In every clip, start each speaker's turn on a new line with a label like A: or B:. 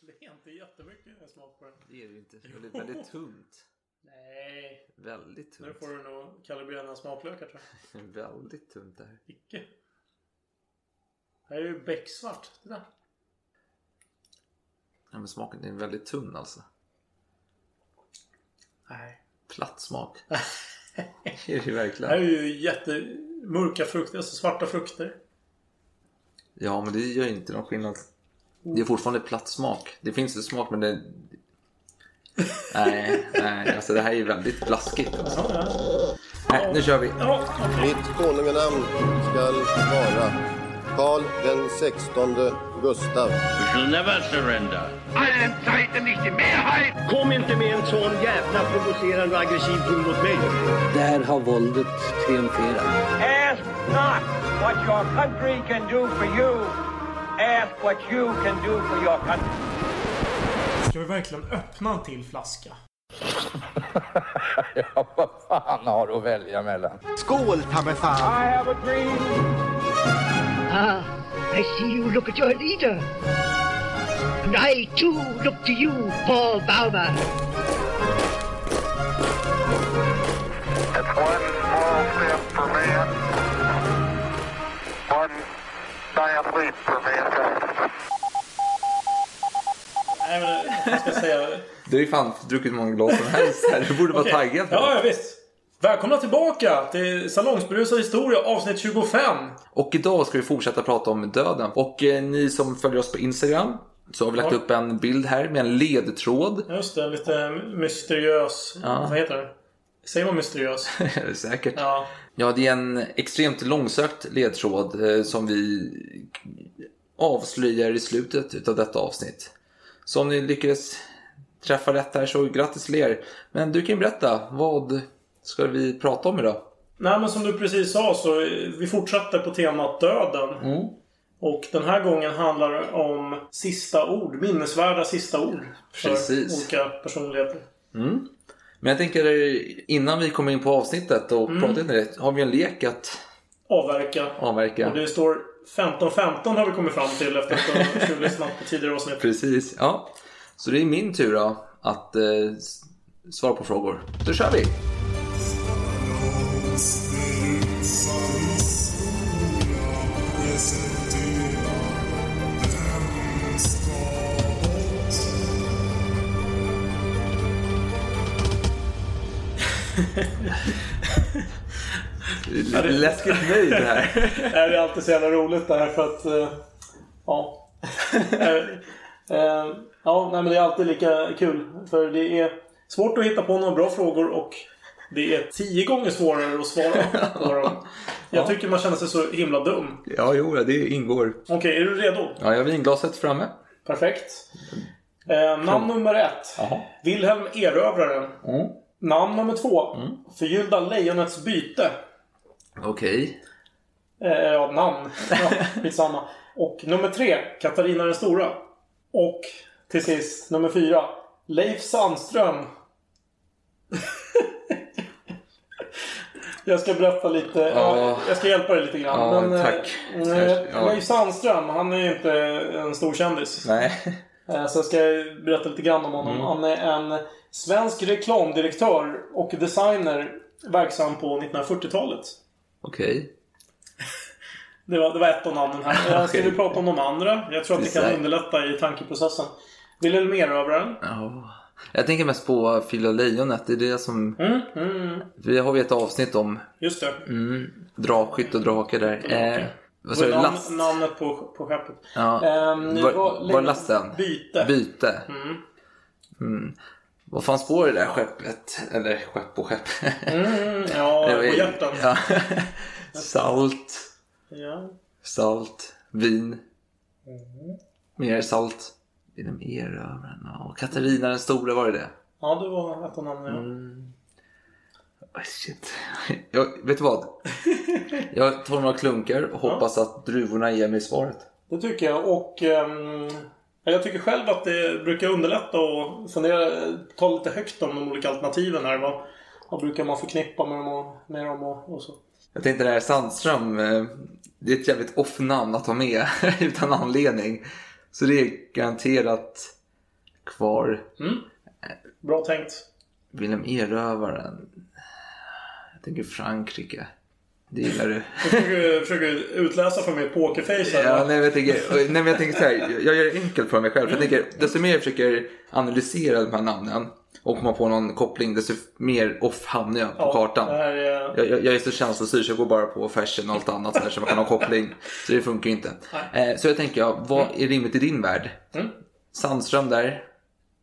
A: Det är inte jättemycket smak på den.
B: Det är det ju inte. Det är väldigt, väldigt tunt.
A: Nej.
B: Väldigt
A: Nu
B: tunt.
A: får du nog kalibrera dina smaklökar tror jag.
B: väldigt tunt där.
A: Icke. Det här är ju becksvart. Titta.
B: Ja, men smaken är väldigt tunn alltså.
A: Nej.
B: Platt smak. det är det ju
A: Det här är
B: verkligen.
A: ju jättemörka frukter. Alltså svarta frukter.
B: Ja, men det gör ju inte någon skillnad. Det är fortfarande platt smak. Det finns ju smak, men det... Nej, nej. Alltså det här är ju väldigt blaskigt. Alltså.
A: Ja, ja.
B: Nej, nu kör vi.
A: ja.
C: Mitt konunganamn skall vara Karl den sextonde Gustav.
D: We shall never surrender.
E: Allen Zeiten nicht die Mehrheit.
F: Kom inte med en sån jävla provocerande och aggressiv ton mot mig.
G: Där har våldet triumferat.
H: Ask not what your country can do for you. Ask what you can do for your country.
A: Ska vi verkligen öppna en till flaska?
I: Ja, vad fan har du att välja mellan?
H: I have a dream.
F: Ah, I see you look at your leader. And I too look to you, Paul Bauma.
E: It's one small step for man, one giant leap for mankind.
A: Nej men vad ska jag säga?
B: Du har ju fan druckit många glas som helst här. Du borde vara taggad.
A: Ja, ja visst. Välkomna tillbaka till Salongsberusad historia avsnitt 25.
B: Och idag ska vi fortsätta prata om döden. Och eh, ni som följer oss på Instagram så har vi lagt
A: Ja.
B: upp en bild här med en ledtråd.
A: Just det, lite mysteriös.
B: Ja.
A: Vad heter det? Säger man mysteriös?
B: Säkert. Ja.
A: Ja.
B: det är en extremt långsökt ledtråd eh, som vi avslöjar i slutet utav detta avsnitt. Så om ni lyckades träffa rätt här så grattis till er. Men du kan ju berätta, vad ska vi prata om idag?
A: Nej men som du precis sa så eh, vi fortsatte på temat döden. Och den här gången handlar det om sista ord. Minnesvärda sista ord. För
B: Precis.
A: olika personligheter.
B: Men jag tänker eh, innan vi kommer in på avsnittet och
A: Mm.
B: pratar in i det, har vi en lek att
A: Avverka.
B: avverka?
A: Och det står 15-15 har vi kommit fram till efter att ha lyssnat på tidigare avsnitt.
B: Precis, ja. Så det är min tur då att eh, s- svara på frågor. Då kör vi!
A: det-
B: Läskigt nöjd här.
A: Nej, det är alltid så jävla roligt det här för att... eh, ja. Eh, eh, ja, nej men det är alltid lika kul. För det är svårt att hitta på några bra frågor och det är tio gånger svårare att svara på dem. Jag tycker man känner sig så himla dum.
B: Ja, jo, det ingår.
A: Okej, är du redo?
B: Ja, jag har vinglaset framme.
A: Perfekt. Eh, namn nummer ett.
B: Jaha.
A: Wilhelm Erövraren.
B: Mm.
A: Namn nummer två. Förgyllda Lejonets byte.
B: Okej.
A: Eh, ja, namn. Ja, skitsamma. Och nummer tre, Katarina den stora. Och till sist, nummer fyra, Leif Sandström. jag ska berätta lite. Ja,
B: Ja.
A: jag ska hjälpa dig lite grann.
B: Ja,
A: eh,
B: tack.
A: eh,
B: Ja.
A: Leif Sandström, han är ju inte en stor kändis.
B: Nej. Mm.
A: Eh, Så jag ska berätta lite grann om honom. Han är en svensk reklamdirektör och designer verksam på 1940-talet.
B: Okej.
A: Det var, det var ett av namnen här. Jag ska
B: Okej.
A: vi prata om de andra? Jag tror att det kan
B: Isär.
A: underlätta i tankeprocessen. Wilhelm Erövraren.
B: Ja. Jag tänker mest på Fila Lejonet. Det är det som...
A: Mm, mm,
B: Vi har ju ett avsnitt om
A: just det.
B: mm, drakskytt och drake där. Eh, vad sa
A: Det
B: du?
A: var namn,
B: Last?
A: namnet på, på skeppet.
B: Ja.
A: Ehm, det
B: Var-
A: var-
B: var lasten?
A: Byte.
B: Byte. Mm. Vad fanns på det där skeppet? Eller skepp och skepp.
A: Mm, ja,
B: Det
A: på
B: var-
A: hjärtan. Ja.
B: Ja. Salt. Salt. Vin.
A: Mm.
B: Mer salt. Genom erövren. Ja, och Katarina den stora var det det?
A: ja, det var ett av namnen.
B: Mm.
A: Ja.
B: Oh, shit. Jag, vet du vad? Jag tar några klunkar och hoppas att druvorna ger mig svaret.
A: Det tycker jag. Och ehm, ja, jag tycker själv att det brukar underlätta att fundera, ta lite högt om de olika alternativen här. Vad, vad brukar man förknippa med dem och, med dem och, och så.
B: Jag tänkte det här Sandström, eh, det är ett jävligt off-namn att ha med utan anledning. Så det är garanterat kvar.
A: Bra tänkt.
B: Wilhelm Erövaren. Jag tänker Frankrike. Det gillar du.
A: Du försöker, försöker utläsa från mitt pokerface här.
B: Ja,
A: va?
B: nej, men jag tänker, nej, men jag tänker så här. Jag- Jag gör det enkelt för mig själv. För jag tänker, desto mer jag försöker analysera de här namnen och komma på någon koppling, desto mer off hamnar jag på
A: Ja,
B: kartan.
A: Det här är...
B: Jag, jag, jag är så känslostyrd så jag går bara på fashion och allt annat sådär, så man kan ha koppling. Så det funkar ju inte. Eh, så jag tänker, ja, vad är rimligt i din värld?
A: Mm.
B: Sandström där.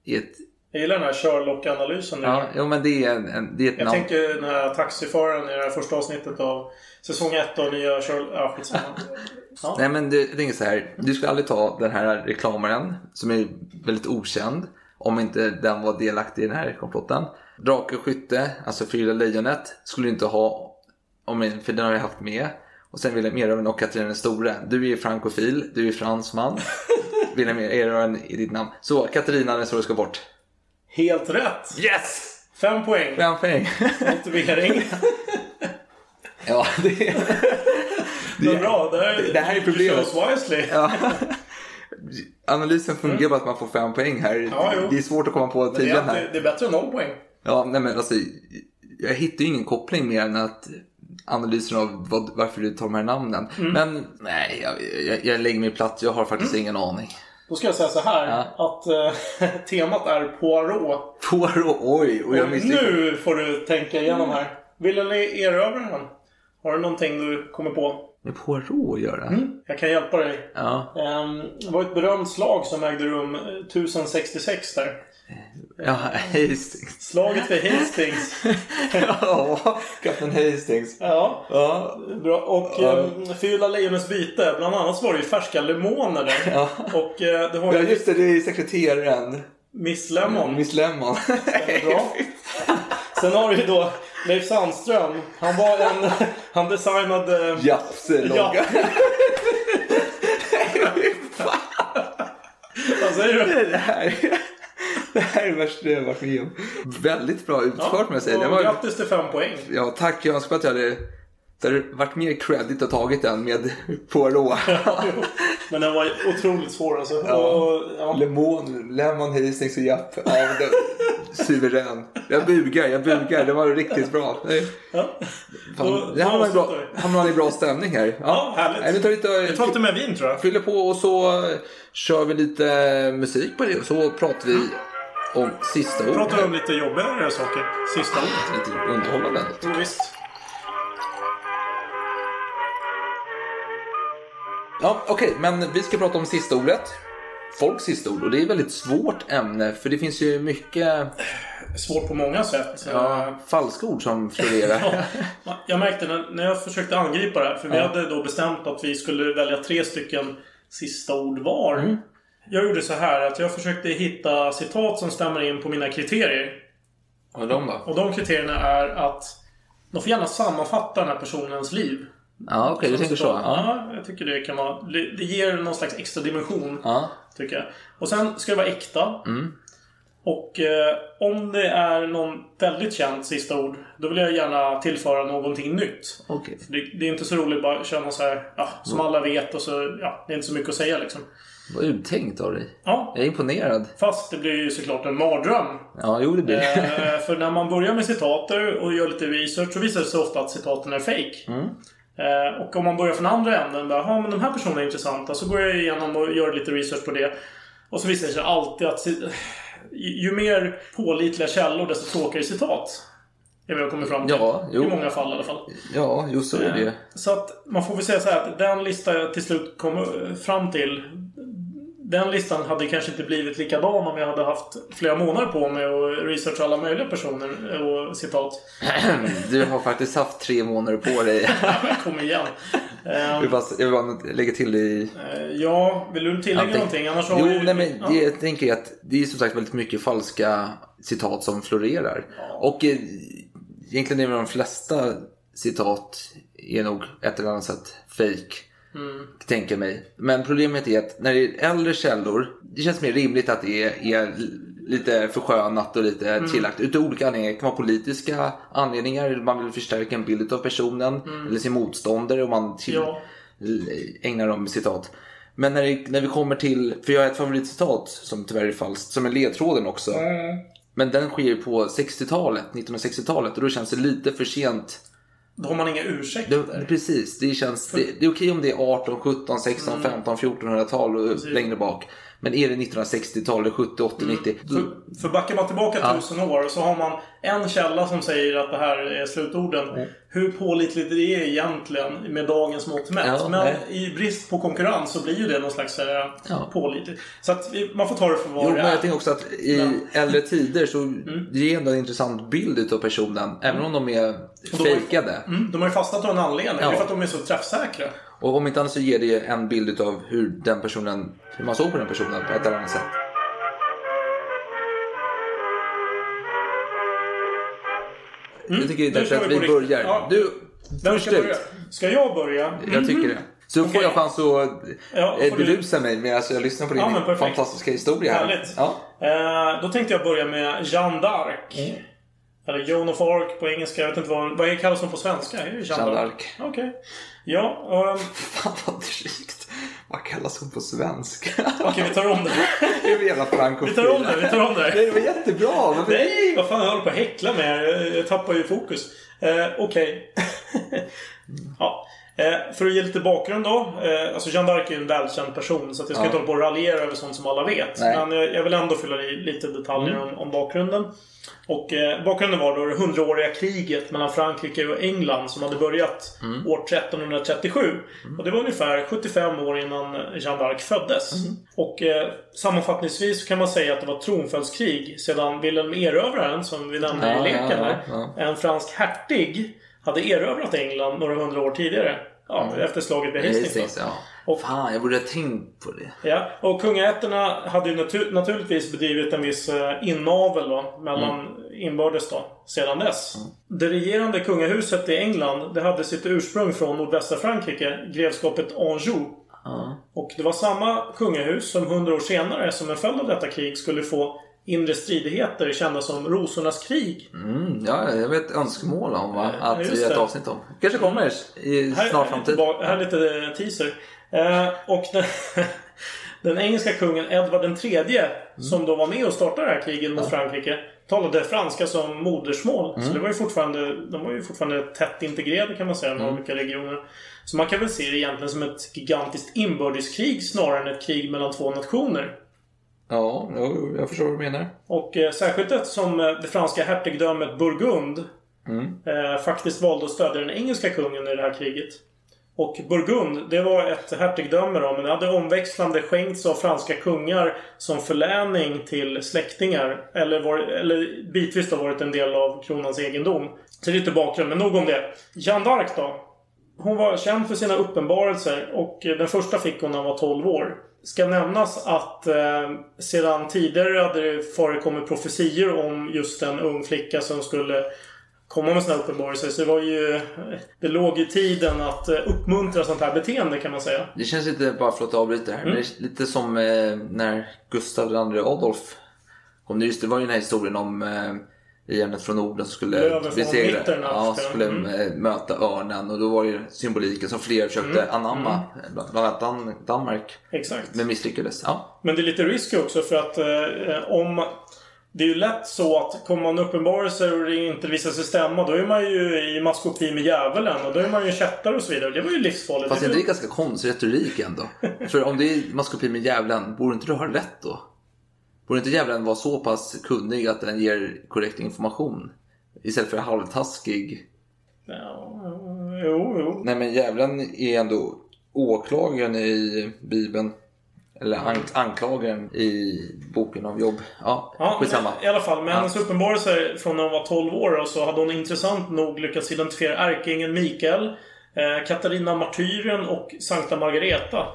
B: I ett,
A: Jag gillar den här Sherlock-analysen. nu.
B: ja, jo, men det är, en, en, det är ett
A: Jag
B: namn.
A: tänker den här taxiföraren i det här första avsnittet av säsong 1 av nya Sherlock... Ja, skitsamma.
B: Nej men det, jag tänker så här. Du skulle aldrig ta den här reklamaren som är väldigt okänd. Om inte den var delaktig i den här komplotten. Drake och skytte, alltså Frida Lejonet, skulle du inte ha. Om, för den har vi haft med. Och sen Wilhelm Erövaren och Katarina den store. Du är frankofil, du är fransman. Wilhelm Erövaren i ditt namn. Så Katarina den store ska bort.
A: Helt rätt!
B: Yes!
A: Fem poäng.
B: Fem poäng.
A: Motivering.
B: ja, det är...
A: Men bra. Det här,
B: det här är problemet.
A: Shows wisely.
B: Ja. Analysen fungerar på att man får fem poäng här.
A: Ja, jo.
B: det är svårt att komma på
A: det, är
B: tiden
A: alltid,
B: här.
A: det är bättre än noll poäng.
B: Ja, nej men alltså, jag hittar ju ingen koppling mer än att analysen av vad, varför du tar de här namnen.
A: Mm.
B: Men nej, jag, jag, jag lägger mig platt. Jag har faktiskt ingen aning.
A: Då ska jag säga så här. Att eh, temat är Poirot.
B: Poirot, oj. Och jag
A: Och
B: misstänker-
A: nu får du tänka igenom här. Vill ni erövra den? Har du någonting du kommer på?
B: Med Poirot att göra?
A: Jag kan hjälpa dig.
B: Ja.
A: Ehm, Det var ett berömt slag som ägde rum eh, 1066 där.
B: Ja, Hastings.
A: Slaget vid Hastings.
B: ja, kapten Hastings.
A: Ja,
B: Ja,
A: bra. Och um, Fylla Lejonens byte. Bland annat så var det ju färska lemoner där.
B: Ja.
A: Och eh, det var
B: ja
A: ju
B: just det. Det är sekreteraren.
A: Miss Lemon.
B: Miss Lemon.
A: Bra. Sen har du ju då Leif Sandström. Han var en... Han designade... eh,
B: Jafselogga.
A: Ja. Vad säger du?
B: Det här, det här är det värsta jag har varit med om. Väldigt bra utfört
A: Ja,
B: må jag säga.
A: och
B: Det var,
A: Grattis till fem poäng.
B: ja, tack. Jag önskar att jag hade, det hade varit mer credit att tagit den med Poirot.
A: Men den var otroligt svår alltså.
B: Ja.
A: Och, ja.
B: Lemon, Lemon Hastings och Japp. Ja, men det, suverän. Jag bugar, jag bugar. Det var riktigt bra. Nej,
A: Ja. Då-
B: fan.
A: då
B: Det hamnar i bra,
A: avslutar vi.
B: hamnar i bra stämning här. Ja,
A: härligt.
B: Nej, vi tar lite,
A: Jag tar lite mer vin tror jag.
B: fyller på och så eh, kör vi lite musik på det. Och så pratar vi om sista ordet.
A: Pratar vi om lite jobbigare saker. Sista ordet.
B: Lite underhållande ändå.
A: Jo, visst.
B: Ja, okej, men vi ska prata om sista ordet. Folks sista ord. Och det är ett väldigt svårt ämne för det finns ju mycket
A: Svårt på många sätt.
B: ja, falska ord som florerar.
A: Ja, Jag märkte när, när jag försökte angripa det här, för vi hade då bestämt att vi skulle välja tre stycken sista ord var.
B: Mm.
A: Jag gjorde så här att jag försökte hitta citat som stämmer in på mina kriterier.
B: Och de då?
A: Och de kriterierna är att de får gärna sammanfatta den här personens liv.
B: Ja, okej, du tänker så. Ja.
A: Ja, jag tycker det kan vara... Det ger någon slags extra dimension.
B: Ja.
A: Tycker jag. Och sen ska det vara äkta. Och eh, om det är någon väldigt känd sista ord, då vill jag gärna tillföra någonting nytt.
B: Okej.
A: För Det, det är inte så roligt bara att känna så här, ja, som alla vet och så, ja, det är inte så mycket att säga liksom.
B: Vad uttänkt av dig.
A: Ja,
B: Jag är imponerad.
A: fast det blir ju såklart en mardröm.
B: Ja, jo det blir det.
A: Eh, för när man börjar med citater och gör lite research så visar det sig ofta att citaten är fake.
B: Mm.
A: Eh, och om man börjar från andra änden, bara, "Ja, men den här personen är intressanta, så går jag igenom och gör lite research på det. Och så visar det sig alltid att ci- ju mer pålitliga källor desto tråkigare citat. Det är vad jag kommer fram till.
B: Ja, jo.
A: I många fall i alla fall.
B: Ja, jo så är det ju.
A: Så att man får väl säga så här att den lista jag till slut kom eh, fram till. Den listan hade kanske inte blivit likadan om jag hade haft flera månader på mig och researcha alla möjliga personer och citat.
B: Du har faktiskt haft tre månader på dig.
A: Men Kom igen.
B: Jag
A: Eh,
B: vill bara, jag vill bara lägga till i
A: eh, Ja, vill du tillägga
B: Antingen-
A: någonting? Annars har
B: Jo,
A: vi-
B: nej, men
A: Ja.
B: det, jag tänker att det är som sagt väldigt mycket falska citat som florerar. Och eh, egentligen är väl de flesta citat är nog ett eller annat sätt fake. Tänker mig. Men problemet är att när det är äldre källor, det känns mer rimligt att det är, är lite förskönat och lite tillagt. Utav olika anledningar. Det kan vara politiska anledningar, man vill förstärka en bild av personen eller sin motståndare och man till,
A: Ja.
B: ägnar dem citat. Men när, det, när vi kommer till, för jag har ett favoritcitat som tyvärr är falskt, som är ledtråden också. Men den sker ju på 60-talet, 1960-talet och då känns det lite för sent.
A: Då har man inga ursäkter.
B: Det, precis, det, känns, det, det är okej om det är 18, 17, 16,
A: Mm.
B: 15, 1400-tal och längre bak. Men är det 1960-tal, eller 70, 80, 90? Då,
A: Mm. För, för backar man tillbaka tusen år så har man en källa som säger att det här är slutorden.
B: Mm.
A: Hur pålitligt det är egentligen med dagens mått mätt.
B: Ja,
A: Men
B: nej.
A: i brist på konkurrens så blir ju det någon slags så här,
B: Ja.
A: pålitligt. Så att vi- man får ta det för vad
B: Jo,
A: det
B: men
A: är.
B: jag tänker också att i äldre tider så
A: Mm.
B: ger ändå en intressant bild utav personen. Även om de är
A: då är-
B: fejkade.
A: Mm, de har ju fastnat av en anledning. Det är
B: Ja.
A: för att de är så träffsäkra.
B: Och om inte annat så ger det en bild utav hur den personen, hur man såg på den personen på ett eller annat sätt. jag tycker det är
A: Mm. nu
B: dags
A: kör
B: att
A: vi
B: vi
A: på riktigt.
B: börjar.
A: Ja.
B: Du,
A: Vem
B: först
A: ska
B: ut.
A: börja? Ska jag börja?
B: Jag tycker det. Så får jag chans att
A: Mm-hmm. Ja,
B: eh,
A: får du-
B: berusa mig medan jag lyssnar på din
A: Ja, men perfekt.
B: fantastiska historia. här.
A: Härligt.
B: Ja.
A: Eh, då tänkte jag börja med Jeanne d'Arc.
B: Mm.
A: Eller Joan of Arc på engelska. Jag vet inte vad, vad kallas hon på svenska? Är det Jeanne
B: Jeanne
A: d'Arc?
B: d'Arc.
A: Okej. Ja, ehm,
B: Fan vad drygt. Vad kallas hon på svenska?
A: okej vi tar om det.
B: Det är väl jävla frankofil.
A: Vi tar om det, vi tar om det.
B: Nej, det var jättebra. Varför-
A: Nej, vad fan jag håller på att häckla med här. Jag- Jag tappar ju fokus. Eh, Okej. ja. eh, för att ge lite bakgrund då. Eh, alltså Jeanne d'Arc är ju en välkänd person så att jag ska
B: Ja.
A: inte hålla på och raljera över sånt som alla vet.
B: Nej. Mm.
A: Men jag, jag vill ändå fylla i lite detaljer om, om bakgrunden. Och eh, bakgrunden var då det hundraåriga kriget mellan Frankrike och England som hade börjat
B: Mm.
A: år 1337. Och det var ungefär 75 år innan Jeanne d'Arc föddes.
B: Mm.
A: Och eh, sammanfattningsvis så kan man säga att det var ett tronföljdskrig sedan Vilhelm Erövraren, som vi nämnde
B: Ja,
A: i leken
B: ja,
A: här,
B: ja,
A: en fransk hertig hade erövrat England några hundra år tidigare. Ja, efter slaget vid Hastings. då.
B: Mm. Precis, ja.
A: Och-
B: Fan, jag borde ha tänkt på det.
A: Ja, och kungaätterna hade ju natur- naturligtvis bedrivit en viss eh, inavel då, mellan inbördes då, sedan dess. Det regerande kungahuset i England, det hade sitt ursprung från nordvästra Frankrike, grevskapet Anjou. Och det var samma kungahus som hundra år senare, som en följd av detta krig, skulle få inre stridigheter kända som Rosornas krig.
B: Mm, ja, jag vet önskemål om va? att
A: just
B: vi gör ett
A: det.
B: avsnitt om. kanske kommer i
A: Här-
B: snar
A: här
B: framtid.
A: Lite, ba- här är lite eh, teaser. Eh, och den, den engelska kungen Edvard III, som då var med och startade det här kriget mot Frankrike, talade franska som modersmål. Så det var ju fortfarande, de var ju fortfarande tätt integrerade kan man säga, med olika regioner. Så man kan väl se det egentligen som ett gigantiskt inbördeskrig snarare än ett krig mellan två nationer.
B: Ja, jo, jag förstår vad du menar.
A: Och eh, särskilt eftersom eh, det franska hertigdömet Burgund eh, faktiskt valde att stödja den engelska kungen i det här kriget. Och Burgund, det var ett hertigdöme då, men det hade omväxlande skänkts av franska kungar som förläning till släktingar. Eller, var, eller bitvis då varit en del av kronans egendom. Så det är lite bakgrund, men nog om det. Jeanne d'Arc då? Hon var känd för sina uppenbarelser och eh, den första fick hon när hon var 12 år. Ska nämnas att eh, sedan tidigare hade det förekommit profetior om just en ung flicka som skulle komma med sina uppenbarelser. Så det var ju... eh, Det låg i tiden att eh, uppmuntra sånt här beteende kan man säga.
B: Det känns lite, bara för att avbryta här,
A: Mm.
B: men det är lite som eh, när Gustav II Adolf kom. Det, just, det var ju den här historien om eh, järnet från Norden som skulle
A: Löven från
B: besegra,
A: Mitternacht,
B: ja,
A: ja.
B: skulle
A: Mm.
B: eh, möta örnen. Och då var ju symboliken som flera försökte
A: Mm.
B: anamma, bland bland annat Dan- Danmark,
A: Exakt.
B: men misslyckades. Ja,
A: Men det är lite risky också för att eh, om... Det är ju lätt så att kommer man uppenbarelser och det inte visar sig stämma då är man ju i maskopi med djävulen och då är man ju en kättare och så vidare. Det var ju livsfarligt.
B: fast
A: Det är
B: det
A: väl-
B: är ganska konstig retorik ändå. För om det är maskopi med djävulen, borde inte du ha rätt då? Borde inte djävulen vara så pass kunnig att den ger korrekt information? Istället för halvtaskig
A: Ja, jo, jo.
B: Nej men djävulen är ändå åklagaren i Bibeln. Eller ank- anklagaren i boken om Jobb. Ja,
A: Ja,
B: skitsamma.
A: men, I alla fall, med hennes uppenbarelser från när hon var 12 år och så hade hon intressant nog lyckats identifiera ärkeängeln Mikael, eh, Katarina Martyren och Sankta Margareta.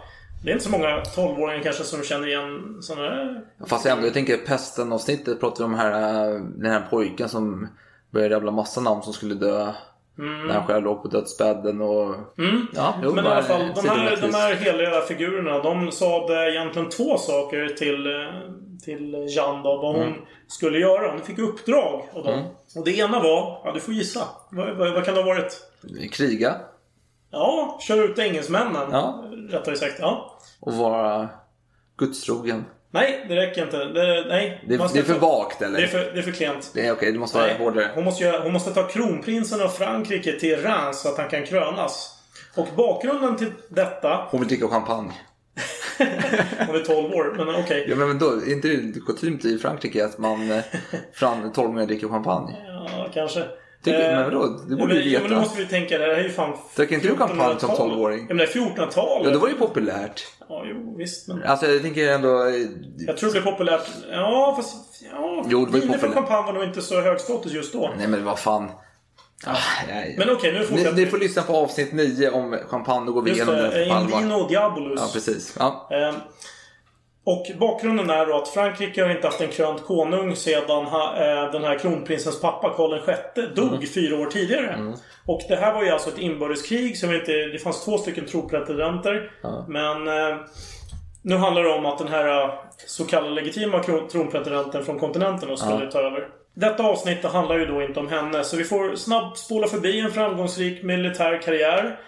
A: Det är inte så många 12-åringar kanske som känner igen sådana där...
B: Fast ändå, jag tänker pesten avsnittet pratade vi om här, äh, den här pojken som började rabbla massa namn som skulle dö. När han själv låg på dödsbädden och... Ja, jo,
A: Mm, Men i
B: bara
A: alla fall, de här,
B: sidonotis.
A: de här heliga figurerna, de sa egentligen två saker till, eh, till Jeanne då, vad hon
B: Mm.
A: skulle göra. Hon fick uppdrag av dem. Och det ena var, ja du får gissa. Vad, vad, vad kan det ha varit?
B: Kriga.
A: Ja, kör ut engelsmännen.
B: Ja.
A: rättare sagt. Ja.
B: och vara gudstrogen.
A: Nej, det räcker inte. Det, nej.
B: Det,
A: man ska
B: det är för
A: ta-
B: vagt eller?
A: Det är för, det är för klent.
B: Det är okej, det måste vara
A: Nej,
B: hårdare.
A: hon, måste göra, hon måste ta kronprinsen av Frankrike till Reims så att han kan krönas. Och bakgrunden till detta,
B: Hon vill dricka champagne.
A: hon är 12 år, men okej.
B: Ja, men då, är inte det kutymt i Frankrike att man eh, fram tolvningar dricker champagne?
A: Ja, kanske.
B: Tycker-
A: Eh,
B: men vadå? Det borde
A: men-
B: vi
A: ja, Men
B: veta.
A: nu måste vi tänka, det här är ju fan...
B: Drack inte du champagne som
A: 1400-talet.
B: 12-åring?
A: Ja, men det är 1400-talet.
B: Ja, det var ju populärt.
A: Ja, jo, visst. Men...
B: Alltså jag tänker ändå... eh,
A: Jag tror det blev populärt... Ja, fast... Ja,
B: Jo, det var ju
A: viner
B: populärt.
A: från champagne var nog inte så hög status just då.
B: Nej men vad fan. Ah, nej.
A: Men okej, nu
B: ni,
A: fortsätter
B: ni får lyssna på avsnitt 9 om champagne, då går vi
A: Just
B: igenom
A: det,
B: det på
A: eh,
B: allvar.
A: Indino Diabolus.
B: Ja, precis. Ja.
A: Eh, Och bakgrunden är då att Frankrike har inte haft en krönt konung sedan ha- eh, den här kronprinsens pappa Karl VI dog
B: Mm.
A: fyra år tidigare. Och det här var ju alltså ett inbördeskrig. Som inte, det fanns två stycken tronpretendenter. Men eh, nu handlar det om att den här eh, så kallade legitima kron- tronpretendenten från kontinenten då skulle ta över. Detta avsnitt handlar ju då inte om henne. Så vi får snabbt spola förbi en framgångsrik militär karriär.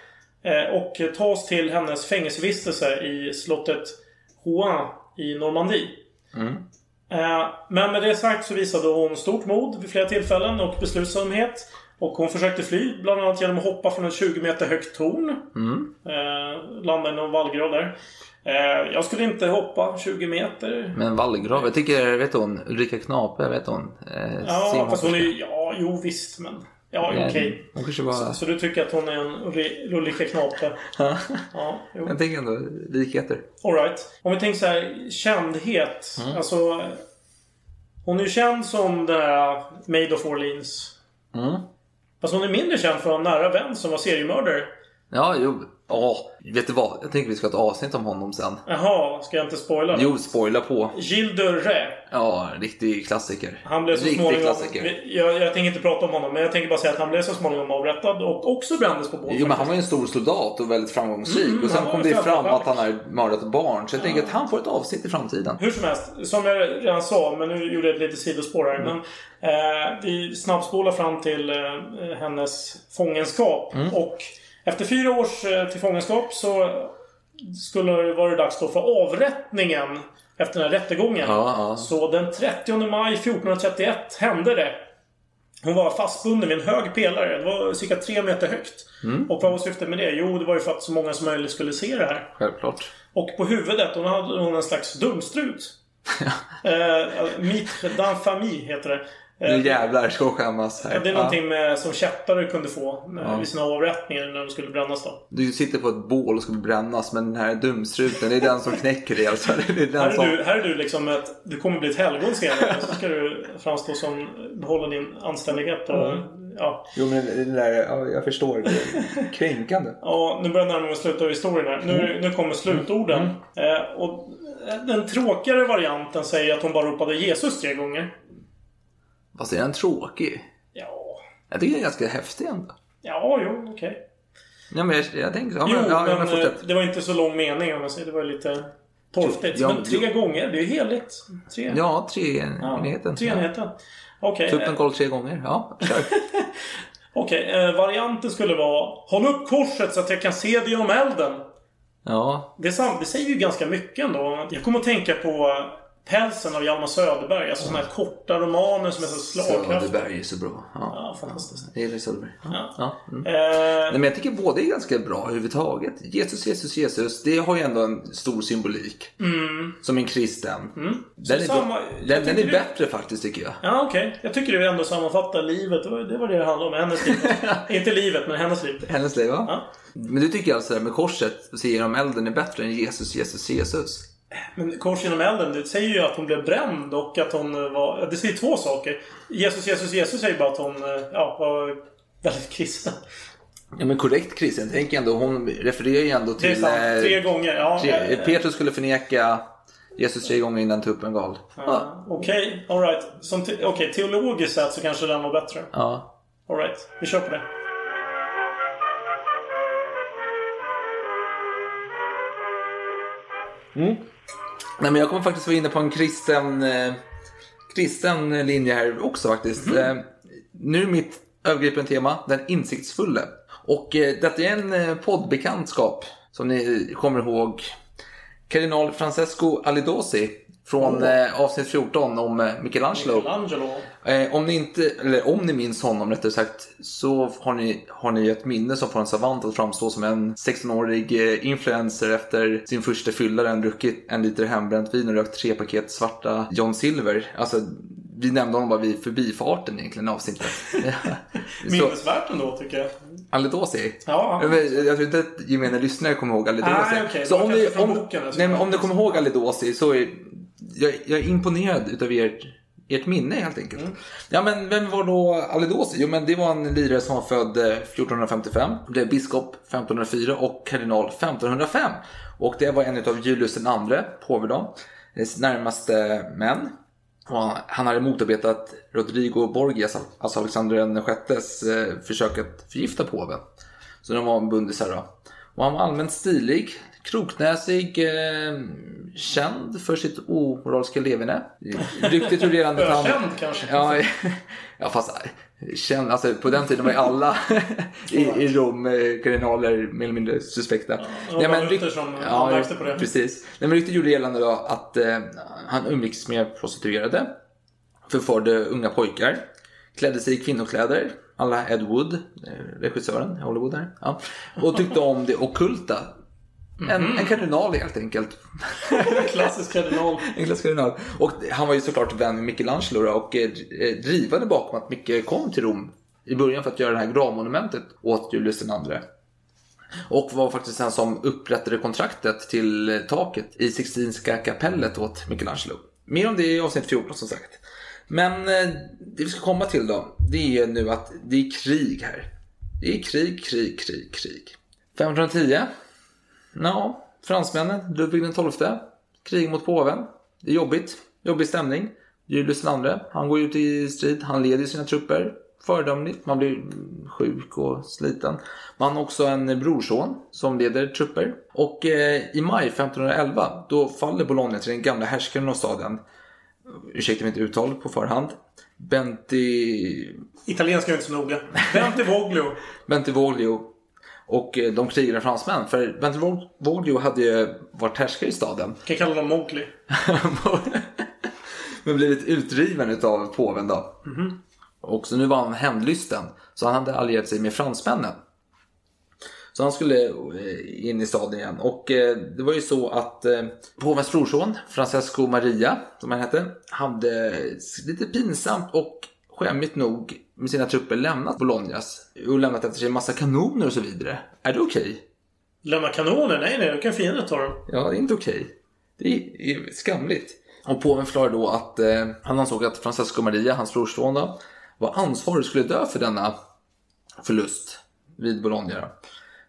A: Eh, Och ta oss till hennes fängelsevistelse i slottet Rouen i Normandie. Eh, Men med det sagt så visade hon stort mod vid flera tillfällen och beslutsamhet. Och hon försökte fly, bland annat genom att hoppa från ett 20 meter högt torn.
B: Mm.
A: Eh, Landa i någon vallgrav där. Eh, Jag skulle inte hoppa 20 meter.
B: Men vallgrav, jag tycker, vet hon, Ulrika Knape, vet hon? Eh,
A: Ja, fast hon
B: simhopperska.
A: är ju... Ja, jo visst men... Ja, okej.
B: Nej, Eh, Hon kanske bara...
A: Så du tycker att hon är en Ulri- Ulrika Knape? Ja, jo.
B: Jag tänker ändå likheter.
A: Alright. Om vi tänker så här, kändhet.
B: Mm.
A: Alltså... Hon är ju känd som den här Maid of Orleans.
B: Mm.
A: Fast hon är mindre känd för att ha en nära vän som var seriemördare.
B: Ja, jo. Ja, vet du vad? Jag tänker vi ska ha ett avsnitt om honom sen.
A: Jaha, ska jag inte spoila?
B: Jo, spoila på.
A: Gilles de Rais.
B: Ja, riktig klassiker.
A: Han blev så
B: riktig
A: småningom...
B: klassiker.
A: Jag, jag tänker inte prata om honom, men jag tänker bara säga att han blev så småningom avrättad och också brändes på bål.
B: Jo, men han var ju en stor soldat och väldigt framgångsrik.
A: Mm,
B: och sen
A: han var
B: kom
A: en
B: det fram
A: framgångsrik.
B: att han har mördat barn. Så jag tänker att han får ett avsnitt i framtiden.
A: Hur som helst, som jag redan sa, men nu gjorde jag ett litet sidospår
B: Mm.
A: här. Men, eh, vi snabbspolar fram till eh, hennes fångenskap.
B: Mm.
A: Och efter fyra års eh, till fångenskap så skulle det vara dags då för avrättningen efter den här rättegången.
B: Ja, ja.
A: Så den 30 maj 1431 hände det. Hon var fastbunden vid en hög pelare. Det var cirka tre meter högt.
B: Mm.
A: Och vad var syftet med det? Jo, det var ju för att så många som möjligt skulle se det här.
B: Självklart.
A: Och på huvudet, hon hade hon en slags dumstrut. eh, mitre d'enfamille heter det.
B: Nu
A: Eh,
B: jävlar ska hon skämmas här.
A: det är
B: Ja.
A: någonting med, som kättare kunde få eh, vid sina avrättningar när de skulle brännas då.
B: Du sitter på ett bål och ska brännas men den här dumstruten, det är den som knäcker dig alltså. Det är den
A: Här är,
B: som...
A: du, här är du liksom ett... Du kommer bli ett helgon senare. så ska du framstå som... Behålla din anständighet och...
B: Mm.
A: Ja.
B: Jo men det där, ja, jag förstår. Det är kränkande.
A: Ja, nu börjar jag närma mig slutet av historien här. Nu,
B: Mm.
A: nu kommer slutorden. Eh, och den tråkigare varianten säger att hon bara ropade Jesus tre gånger.
B: Fast är den tråkig?
A: Ja,
B: Jag tycker den är ganska häftig ändå.
A: ja jo, okej.
B: Ja men jag, jag tänker ja,
A: Jo,
B: men, ja,
A: men,
B: men
A: eh,
B: fortsätt.
A: det var inte så lång mening om jag säger. Det var lite torftigt.
B: Ja,
A: men tre
B: jo.
A: gånger, det är ju heligt. Tre.
B: Ja, treenigheten.
A: Treenigheten. Okej,
B: Ta upp den
A: okay.
B: koll tre gånger. Ja, kör.
A: eh, varianten skulle vara Håll upp korset så att jag kan se det genom elden.
B: Ja,
A: Det, är sam- det säger ju ganska mycket ändå. Jag kommer att tänka på eh, Pälsen av Hjalmar Söderberg. Alltså sådana här korta romaner som är så slagkraftiga.
B: Söderberg är så bra. Ja.
A: Ja, fantastiskt.
B: Jag gillar Söderberg. Ja. Ja. Mm.
A: Eh,
B: Nej, men jag tycker båda är ganska bra överhuvudtaget. Jesus, Jesus, Jesus. Det har ju ändå en stor symbolik. Som en kristen. Den, är,
A: Mm. samma-
B: bra- den,
A: jag
B: den
A: tänkte
B: är
A: det-
B: bättre faktiskt tycker jag.
A: Ja, okej. Jag tycker du ändå sammanfattar livet. Det var det var det det handlade om. Hennes liv. Inte livet, men hennes liv.
B: Hennes liv va?
A: Ja.
B: Men du tycker alltså det här med korset, se genom elden, är bättre än Jesus, Jesus, Jesus?
A: Men kors genom elden, det säger ju att hon blev bränd och att hon var... Det säger två saker. Jesus, Jesus, Jesus säger bara att hon eh, ja, var väldigt kristen.
B: Ja men korrekt kristen, tänk ändå, hon refererar ju ändå till...
A: Det är sant.
B: eh,
A: Tre gånger. Ja,
B: tre-
A: eh,
B: Petrus skulle förneka Jesus tre gånger innan tuppen gal. Ja.
A: ja, Eh, Okej, alright. Te okej, teologiskt sett så kanske den var bättre.
B: ja.
A: Alright, vi kör på det.
B: Nej men jag kommer faktiskt vara inne på en kristen, eh, kristen linje här också faktiskt. Eh, nu är mitt övergripande tema, den insiktsfulle. Och eh, detta är en eh, poddbekantskap Som ni kommer ihåg, kardinal Francesco Alidosi från eh, avsnitt 14 om eh, Michelangelo.
A: Michelangelo.
B: Eh, om ni inte, eller om ni minns honom rättare sagt, så har ni, har ni ett minne som får en savant att framstå som en 16-årig eh, influencer efter sin första fylla där han druckit en liter hembränt vin och rökt tre paket svarta John Silver. Alltså, vi nämnde honom bara vid förbifarten egentligen i avsnittet. så,
A: Minnesvärt ändå tycker jag.
B: Alidosi.
A: Ja.
B: Men Jag tror inte att gemene lyssnare kommer ihåg Alidosi.
A: Nej, okej.
B: så
A: Det var
B: om ni,
A: kanske från
B: om,
A: boken, alltså.
B: nej, men om ni kommer ihåg Alidosi så är jag, jag är imponerad utav ert, ert minne helt enkelt.
A: Mm.
B: Ja, men vem var då Alidosi? Jo, men det var en lirare som var född eh, 1455, blev biskop 1504 och kardinal 1505. Och det var en utav Julius den andre, påvedens närmaste män. Och han hade motarbetat Rodrigo Borgias, alltså Alexander den sjättes eh, försök att förgifta påven. Så de var en bundisar då. Och han var allmänt stilig, kroknäsig, eh, känd för sitt omoraliska leverne. Ryktet rullerande att han...
A: Ökänd kanske.
B: Ja, ja, fast eh, känd, alltså, på den tiden var ju alla i, i Rom eh, kardinaler mer eller mindre suspekta.
A: det var bara Luther som anmärkte på det.
B: Precis. Nej, men ryktet gjorde gällande då att eh, han umgicks med prostituerade, förförde unga pojkar, klädde sig i kvinnokläder, alla Ed Wood, eh, regissören i Hollywood där, ja, och tyckte om det ockulta. En,
A: Mhm.
B: en kardinal helt enkelt.
A: Klassisk kardinal.
B: Niklas Kardinal. Och han var ju såklart vän med Michelangelo då, och eh, drivande bakom att Micke kom till Rom i början för att göra det här gravmonumentet åt Julius den andre. Och var faktiskt den som upprättade kontraktet till eh, taket i Sixtinska kapellet åt Michelangelo. Mer om det i avsnitt 14 som sagt. Men eh, det vi ska komma till då, det är nu att det är krig här. Det är krig, krig, krig, krig. 510 Ja, fransmännen, Ludvig den XII, krig mot påven. Det är jobbigt, jobbig stämning. Julius den andre, han går ut i strid, han leder sina trupper. Föredömligt, man blir sjuk och sliten. Man har också en brorson som leder trupper. Och eh, i maj 1511, då faller Bologna till den gamla härskaren av staden. Ursäkta mitt uttal på förhand. Benti
A: Italienska är inte så noga. Bente Voglio.
B: Bentivoglio och eh, de krigande fransmän. För Bentivoglio hade ju varit härskare i staden.
A: Kan kalla dem Mowgli.
B: Men blivit utriven utav påven då. Och så nu var han hämndlysten. Så han hade allierat sig med fransmännen. Så han skulle eh, in i staden igen. Och eh, det var ju så att eh, påvens brorson, Francesco Maria, som han hette, hade lite pinsamt och skämmigt nog med sina trupper lämnat Bolognas. Och lämnat efter sig en massa kanoner och så vidare. Är det okej?
A: Lämna kanoner? Nej, nej. Då kan fienden ta dem.
B: Ja, det är inte okej. Det är skamligt. Och påven förklarade då att eh, han ansåg att Francesco Maria, hans brorson, då, var ansvarig skulle dö för denna förlust vid Bologna. Då.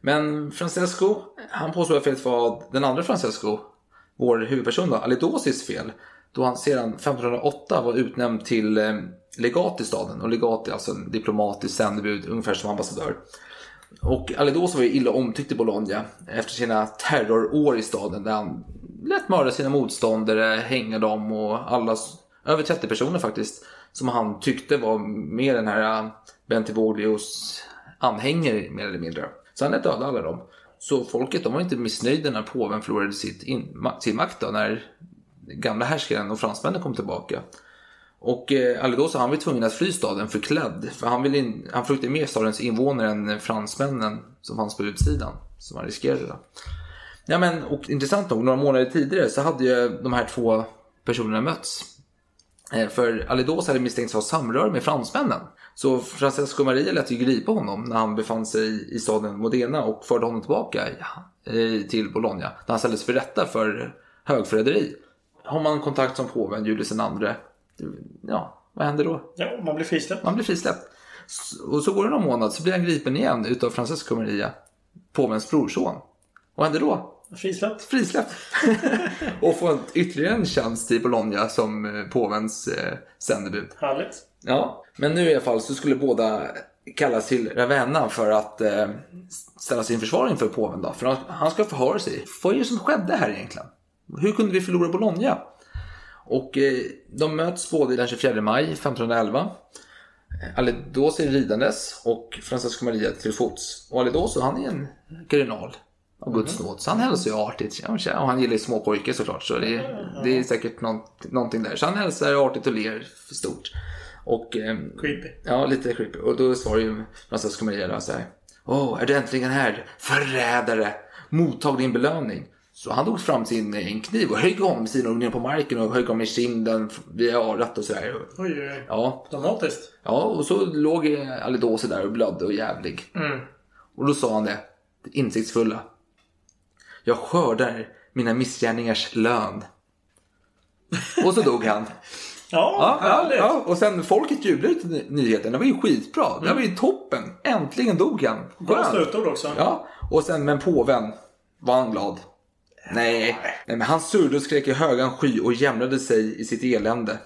B: Men Francesco, han påstod att felet var den andra Francesco, vår huvudperson, då, Alidosis fel. Då han sedan 1508 var utnämnd till eh, legat i staden. Och legat är alltså en diplomatisk sändebud, ungefär som ambassadör. Och Alidoso var ju illa omtyckt i Bologna efter sina terrorår i staden där han lät mörda sina motståndare, hänga dem och alla, över 30 personer faktiskt, som han tyckte var med den här Bentivoglios anhängare mer eller mindre. Så han lät döda alla dem. Så folket de var inte missnöjda när påven förlorade sitt in, ma- sin makt då, när gamla härskaren och fransmännen kom tillbaka. Och eh, Algosa han var tvungen att fly staden förklädd. För han, ville in, han fruktar mer stadens invånare än fransmännen som fanns på utsidan. Som han riskerade. Då. Ja, men, och intressant nog, några månader tidigare så hade ju de här två personerna mötts. Eh, För Alidos hade misstänkts ha samröre med fransmännen. Så Francesco Maria lät ju gripa honom när han befann sig i staden Modena och förde honom tillbaka ja, eh, till Bologna. Där han ställdes för rätta för högförräderi. Har man kontakt som påven, Julius den andre, ja, vad händer då?
A: Ja, man blir frisläppt.
B: Man blir frisläppt. S- Och så går det någon månad så blir han gripen igen utav Francesco Maria, påvens brorson. Vad händer då?
A: Frisläppt.
B: Frisläppt! och får en- ytterligare en tjänst i Bologna som eh, påvens eh, sändebud.
A: Härligt.
B: Ja, men nu i alla fall så skulle båda kallas till Ravenna för att eh, ställa sin försvar inför påven då. För han- han ska förhöra sig. Vad är det som skedde här egentligen? Hur kunde vi förlora Bologna? Och eh, de möts båda den 24 maj Eh, 1511. Alidosi ridandes och Francesco Maria till fots. Och Alidoso han är en kardinal. av Guds nåd. Så han hälsar ju artigt. Ja, tja. Och han gillar ju småpojkar såklart. Så det, det är säkert någon, någonting där. Så han hälsar artigt och ler för stort. Och, ehm,
A: Creepy.
B: Ja, lite creepy. Och då svarar ju prinsessan Maria då så här. Åh, är du äntligen här? Förrädare! Mottag din belöning. Så han tog fram sin eh, en kniv och högg om sidan ner på marken och högg om i kinden via örat och sådär.
A: Oj, oj, oj.
B: Ja,
A: Dramatiskt.
B: ja, och så låg eh, Alidose där och blödde och jävlig. Och då sa han det, det insiktsfulla. Jag skördar mina missgärningars lön. Och så dog han.
A: Ja,
B: Ja, ja,
A: härligt.
B: ja, och sen folket jublade ut ny- nyheten. Det var ju skitbra. Det
A: Mm.
B: här var ju toppen. Äntligen dog han.
A: Bra
B: Skönt.
A: slutord också.
B: Ja, och sen men påven, var han glad? Nej, Nej men han surrade och skrek i högan sky och jämrade sig i sitt elände.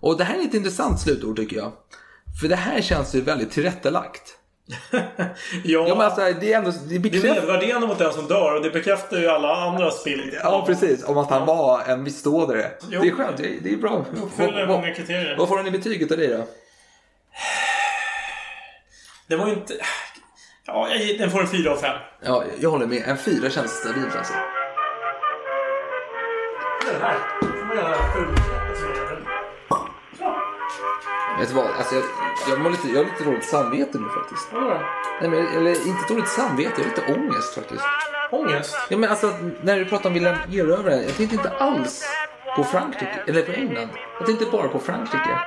B: Och det här är ett intressant slutord tycker jag. För det här känns ju väldigt tillrättalagt.
A: Ja,
B: Ja, men alltså, det är ändå det
A: det är
B: bekräftar
A: nedvärderande mot den som dör och det bekräftar ju alla andras bild.
B: Ja, precis. Om att han var en bistådare.
A: Jo.
B: Det är skönt. Det är, det är bra.
A: Uppfyller
B: Vad-
A: många kriterier.
B: vad- Vad får han i betyget av dig då?
A: Det var ju inte... Ja, jag ger- den får en 4 av 5.
B: Ja, jag håller med. En fyra känns stabilt alltså.
A: Den här. får man göra fullt.
B: Vet du vad? Alltså, jag, jag, mår lite, jag har lite dåligt samvete nu faktiskt. Nej, men, eller inte dåligt samvete, jag har lite ångest faktiskt.
A: Ångest.
B: Ja, men alltså, när du pratar om Wilhelm Erövraren, jag tänkte inte alls på Frankrike, eller på England. Jag tänkte bara på Frankrike.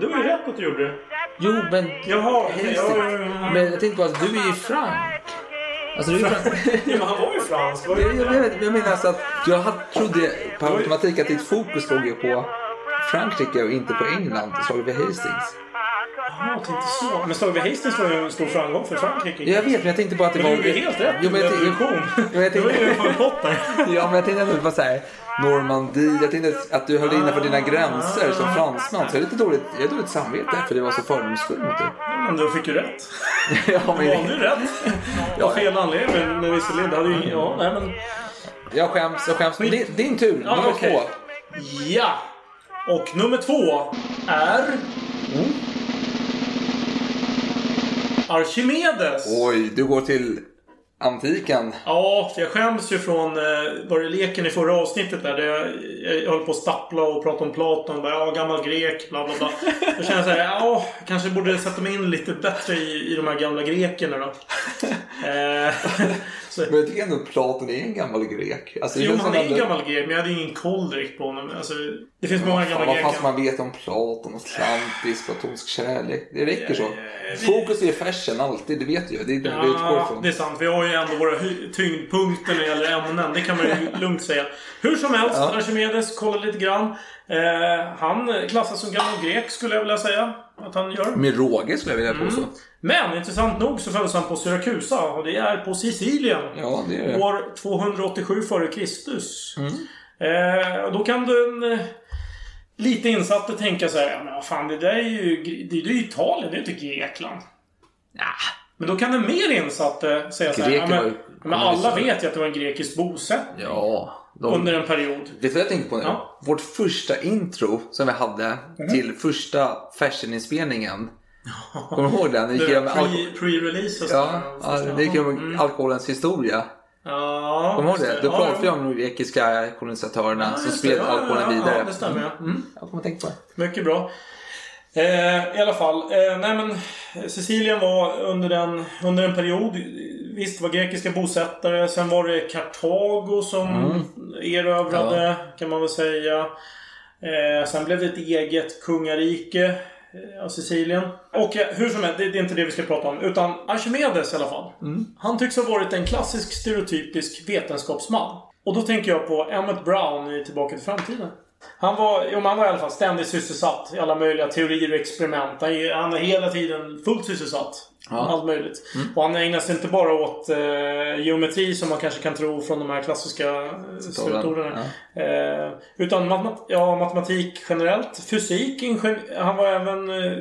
A: Du var ju rätt på att du gjorde det.
B: Jo, men...
A: Jaha, okej, ja, ja, ja.
B: Men jag tänkte bara att du är ju frank. Alltså, du är frank.
A: Ja, men han var ju fransk. Var
B: Jag,
A: ju...
B: jag, vet, jag menar alltså att jag hade, trodde på automatik att ditt fokus låg ju på Frankrike och inte på England, slaget vid Hastings.
A: Jaha, tänkte så. Men Slaget vid Hastings var ju en stor framgång för Frankrike.
B: Ja, Jag vet, men jag tänkte bara att det
A: Men
B: var...
A: du gjorde helt rätt.
B: Jo, men jag, tänkte-
A: Revolution.
B: Jo, jag
A: Det var
B: tänkte...
A: ju en potter.
B: Ja, men jag tänkte att det var så här Normandie. Jag tänkte att du höll dig innanför dina gränser som fransman. Så jag har lite dåligt, jag har dåligt samvete för det var så fördomsfull mot dig.
A: Men du fick ju rätt.
B: Ja,
A: Du valde
B: men,
A: ju rätt. Av fel anledning, men, men visserligen. Det hade ju ingen... Ja, nej men...
B: jag skäms, jag skäms. Din, din tur,
A: Ja,
B: nummer
A: okej.
B: två.
A: Ja! Och nummer två är... Arkimedes.
B: Oj, du går till antiken.
A: Ja, för jag skäms ju från eh, var det leken i förra avsnittet där. där jag, jag, jag höll på att stappla och prata om Platon. Bara, ja, gammal grek, bla bla bla. Då känner jag så här, ja, kanske borde sätta mig in lite bättre i, i de här gamla grekerna då. Eh, så,
B: Men jag tycker ändå att Platon är en gammal grek. Alltså, det
A: jo,
B: känns
A: men han
B: som
A: är ju
B: ändå-
A: gammal grek, men jag hade ingen koll direkt på honom. Alltså, det finns många
B: Fan,
A: gamla
B: Vad
A: greker.
B: fast man vet om Platon, Atlantis, platonsk kärlek. Det räcker så. Fokus är fashion alltid, det vet du ju. Det är det vi utgår
A: Ja,
B: från.
A: det är sant. Vi har ju ändå våra hy- tyngdpunkter när det gäller ämnen. Det kan man ju lugnt säga. Hur som helst,
B: Ja.
A: Archimedes kollar lite grann. Eh, han klassas som gammal grek skulle jag vilja säga att han gör.
B: Med råge skulle jag vilja påstå.
A: Mm. Men intressant nog så föddes han på Syrakusa och det är på Sicilien.
B: Ja, Mm. det är det.
A: År 287 före Kristus. Eh, då kan du eh, lite insatt tänka så här, ja men vad fan det där är ju, gre- det är ju Italien, det är ju inte Grekland. Men då kan den mer insatte säga så här, ja,
B: Greker var
A: men,
B: ju-
A: men alla vet ju att det var en grekisk bosättning
B: Ja. De...
A: under en period.
B: Vet du vad jag tänker på nu?
A: Ja.
B: Vårt första intro som vi hade till första fashioninspelningen. Kommer du ihåg den? Vi gick igenom alko-
A: Pre- Pre-releases.
B: ja, ja, vi gick igenom
A: Mm.
B: alkoholens historia.
A: Ja,
B: Kommer du
A: just
B: ihåg det? Då
A: Ja,
B: pratade vi
A: ja.
B: om de grekiska kolonisatörerna
A: Ja,
B: som
A: just
B: spred
A: det. Ja, ja,
B: alkoholen
A: ja,
B: vidare.
A: Ja, det stämmer. ja. Mm.
B: Jag kommer att tänka på det.
A: Mycket bra. Eh, I alla fall. Eh, nej men, Sicilien var under en, under en period. Visst, det var grekiska bosättare. Sen var det Kartago som erövrade, kan man väl säga. Eh, sen blev det ett eget kungarike eh, av Sicilien. Och eh, hur som helst, det, det är inte det vi ska prata om. Utan Archimedes i alla fall. Han tycks ha varit en klassisk stereotypisk vetenskapsman. Och då tänker jag på Emmett Brown i Tillbaka till framtiden. Han var, jo, men han var i alla fall ständigt sysselsatt i alla möjliga teorier och experiment. Han, är- han är hela tiden fullt sysselsatt. med Allt möjligt. Och han ägnar sig inte bara åt eh, geometri som man kanske kan tro från de här klassiska eh, slutorden. Eh, utan matemat- ja, matematik generellt, fysik, ingen- han var även eh,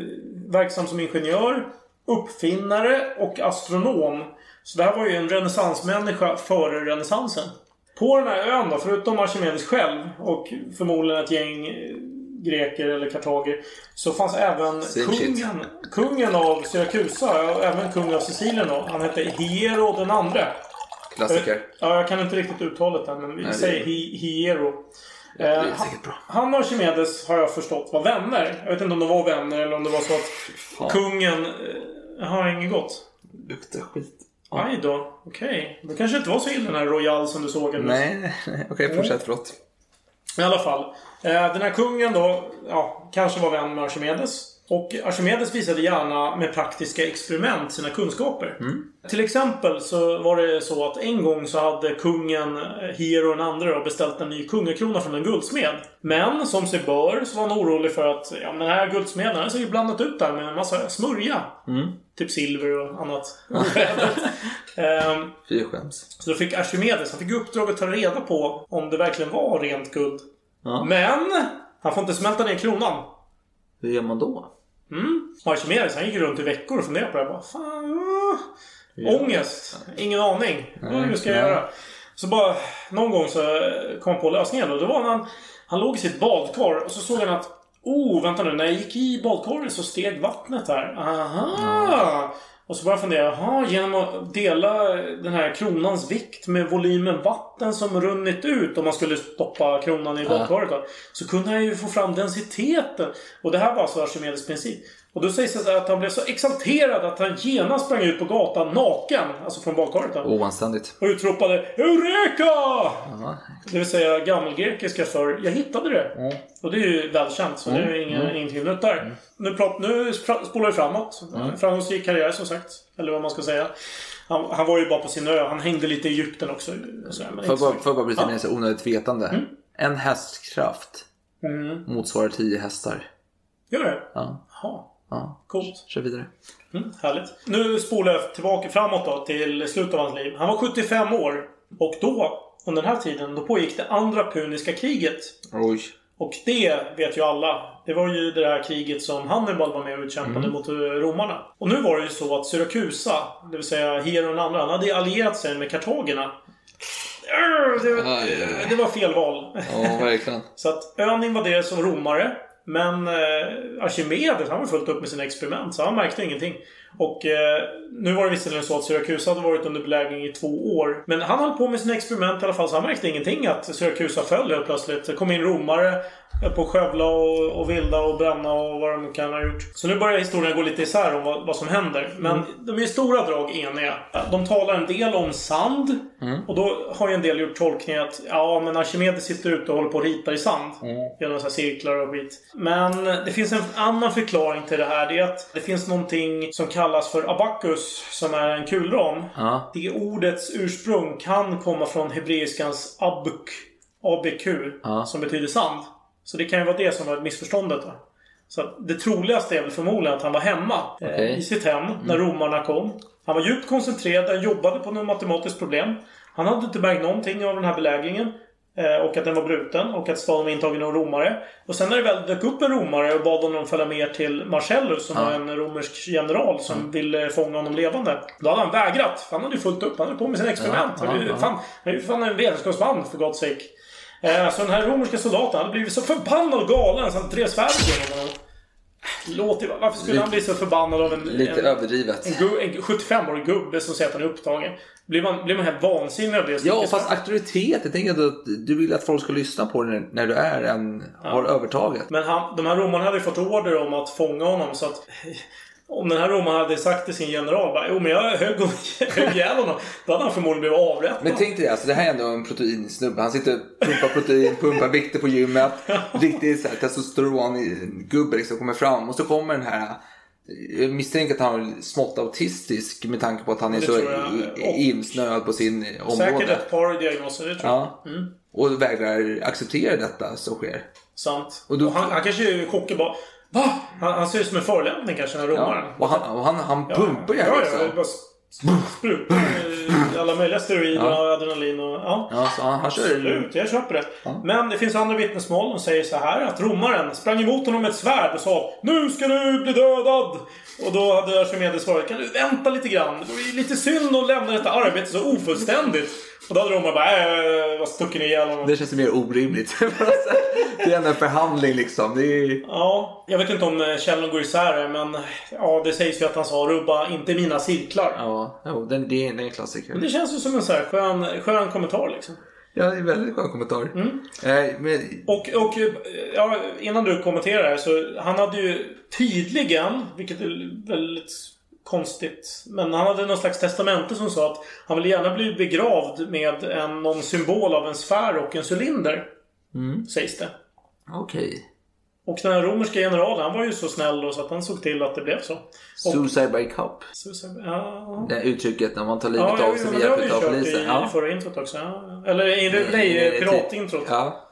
A: verksam som ingenjör, uppfinnare och astronom. Så det här var ju en renässansmänniska före renässansen. På den här ön då, förutom Archimedes själv och förmodligen ett gäng eh, greker eller kartager så fanns även
B: Same shit.
A: kungen, kungen av Syrakusa och även kung av Sicilien då. Han hette Hiero den andre.
B: Klassiker.
A: Ja, jag kan inte riktigt uttalet där, men vi
B: Nej, det-
A: säger Hi- Hiero.
B: Det
A: Eh,
B: är
A: han-
B: säkert bra.
A: han och Archimedes har jag förstått var vänner. Jag vet inte om de var vänner eller om det var så att
B: Fan,
A: kungen eh, har inget gott.
B: luktar skit.
A: Aj då, okej. Det kanske inte var så illa den här Royal som du såg. eller?
B: Nej, nej, okej. fortsätt. Förlåt.
A: I alla fall. Eh, Den här kungen då, ja, kanske var vän med Archimedes. Och Archimedes visade gärna med praktiska experiment sina kunskaper. Till exempel så var det så att en gång så hade kungen eh, Hiero den andra då, beställt en ny kungakrona från en guldsmed. Men som sig bör så var han orolig för att ja, men den här guldsmeden hade säkert blandat ut där med en massa smörja. Typ silver och annat. Ehm,
B: Fy jag skäms.
A: så då fick Archimedes, han fick i uppdrag att ta reda på om det verkligen var rent guld.
B: Ja.
A: Men! Han får inte smälta ner kronan.
B: Hur gör man då?
A: Mm. Och Archimedes, han gick runt i veckor och funderade på det här. Bara, Fan, uh. Ångest. Ingen aning. Vad
B: Nej,
A: hur ska jag
B: nej.
A: göra? Så bara någon gång så eh, kom han på lösningen. Och det var när han, han låg i sitt badkar och så såg han att Oh, vänta nu. När jag gick i badkaret så steg vattnet här. Aha! Och så började jag fundera. Jaha, genom att dela den här kronans vikt med volymen vatten som runnit ut om man skulle stoppa kronan i badkaret då, Så kunde jag ju få fram densiteten. Och det här var alltså Archimedes princip. Och då sägs det så här att han blev så exalterad att han genast sprang ut på gatan naken. Alltså från badkaret då.
B: Oanständigt.
A: Och utropade Eureka!
B: Ja,
A: Det vill säga gammelgrekiska för jag hittade det. Och det är ju välkänt, så det är inga, ingenting nytt där. Nu, prat, nu spra- spolar vi framåt. Framgångsrik karriär som sagt. Eller vad man ska säga. Han, han var ju bara på sin ö. Han hängde lite i Egypten också. Så här, men
B: Får
A: inte
B: jag
A: så
B: bara,
A: mycket.
B: får jag bara bryta
A: Ja.
B: in i så onödigt vetande? En hästkraft
A: Mm.
B: motsvarar tio hästar.
A: Gör det?
B: Ja,
A: Jaha,
B: ja.
A: coolt.
B: Kör vidare.
A: Mm, härligt. Nu spolar jag tillbaka framåt då till slutet av hans liv. Han var 75 år. Och då, under den här tiden, då pågick det andra puniska kriget.
B: Oj.
A: Och det vet ju alla. Det var ju det där kriget som Hannibal var med och utkämpade
B: Mm.
A: mot eh, romarna. Och nu var det ju så att Syrakusa, det vill säga Hero och den andra, han hade allierat sig med kartagerna. Arr, Det,
B: Aj, aj.
A: det var fel val.
B: Ja, verkligen.
A: Så att ön invaderades av romare. Men eh, Archimedes han var fullt upp med sina experiment så han märkte ingenting. Och eh, nu var det visserligen så att Syrakusa hade varit under belägring i två år. Men han höll på med sina experiment i alla fall så han märkte ingenting att Syrakusa föll helt plötsligt. Det kom in romare eh, på att skövla och, och vilda och bränna och vad de kan ha gjort. Så nu börjar historien gå lite isär om vad, vad som händer. Men
B: Mm.
A: de är i stora drag eniga. De talar en del om sand.
B: Mm.
A: Och då har ju en del gjort tolkningen att ja, men Archimedes sitter ute och håller på och ritar i sand.
B: Mm.
A: Genom så här cirklar och skit. Men det finns en annan förklaring till det här. Det är att det finns någonting som kallas för abakus som är en kulram.
B: Ja.
A: Det ordets ursprung kan komma från hebreiskans abuk, abq,
B: Ja.
A: som betyder sand. Så det kan ju vara det som var missförståndet då. Så att det troligaste är väl förmodligen att han var hemma eh,
B: Okej. Mm.
A: i sitt hem när romarna kom. Han var djupt koncentrerad, han jobbade på något matematiskt problem. Han hade inte märkt någonting av den här belägringen. eh, Och att den var bruten och att staden var intagen av romare. Och sen när det väl dök upp en romare och bad honom följa med till Marcellus som var en romersk general som ville fånga honom levande. Då hade han vägrat. För han hade ju fullt upp. Han hade på med sina experiment.
B: Ja,
A: han, är ju
B: ja,
A: fan, han är ju fan en vetenskapsman för Guds sake. Eh, Så den här romerska soldaten hade blivit så förbannad och galen så han drev svärdet genom honom. Låt det, vara. varför skulle
B: Lite-
A: han bli så förbannad av en,
B: Lite
A: en,
B: överdrivet.
A: en, gu- en 75-årig gubbe som säger att han är upptagen? Blir man, blir man helt vansinnig av det? Så
B: Ja,
A: mycket-
B: fast auktoritet. Jag tänker ändå att du vill att folk ska lyssna på dig när du är en, har övertaget.
A: Men han, de här romarna hade ju fått order om att fånga honom så att... Om den här romaren hade sagt till sin general bara, jo men jag högg och- högg ihjäl honom. Då hade han förmodligen blivit avrättad.
B: Men tänk dig, alltså, det här är ändå en proteinsnubbe. Han sitter och pumpar protein, pumpar vikter på gymmet. Riktigt så här testosterongubbe liksom kommer fram. Och så kommer den här... Jag misstänker att han är smått autistisk med tanke på att han är
A: Det
B: så
A: tror jag.
B: i- insnöad på sin
A: Säkert
B: område.
A: ett par diagnoser, det tror jag.
B: Ja. Och vägrar acceptera detta som sker.
A: Sant.
B: Och
A: Och
B: då-
A: han, han kanske är chockad bara, va? Han, han ser ut som en förolämpning kanske, den här romaren.
B: Ja. Och han, och han, han pumpar ju
A: ja,
B: här
A: ja,
B: liksom.
A: det bara sp- sprutar eh, alla möjliga steroider och adrenalin och... Ja.
B: Ja, så han, han kör...
A: Absolut, jag köper det. Men det finns andra vittnesmål som säger så här att romaren sprang emot honom med ett svärd och sa Nu ska du bli dödad! Och då hade Archimedes svarat Kan du vänta lite grann? Det vore ju lite synd att lämna detta arbete så ofullständigt. Och då hade romaren bara äh, vad stucken ihjäl honom.
B: Det känns ju mer orimligt. det är ändå en förhandling liksom. Det är...
A: Ja, jag vet inte om eh, källorna går isär här, men ja, det sägs ju att han sa rubba inte mina cirklar.
B: Ja, jo, den, det är det är en klassik. tycker
A: Men
B: jag.
A: det känns ju som en så här skön, skön kommentar liksom.
B: Ja, det är en väldigt skön kommentar.
A: Mm.
B: Eh, men,
A: Och, och ja, innan du kommenterar här så han hade ju tydligen, vilket är väldigt konstigt, men han hade någon slags testamente som sa att han ville gärna bli begravd med en, någon symbol av en sfär och en cylinder. Sägs det.
B: okej.
A: Och den här romerska generalen, han var ju så snäll då så att han såg till att det blev så.
B: Suicide by cop.
A: Så, så, ja.
B: Det här uttrycket när man tar livet
A: Ja, ja,
B: av sig
A: jo,
B: med
A: men det har vi
B: hjälp
A: ju
B: av
A: kört
B: polisen.
A: i
B: Ja. Mm.
A: förra introt också. Ja. Eller i, nej,
B: det-
A: piratintrot.
B: Ja,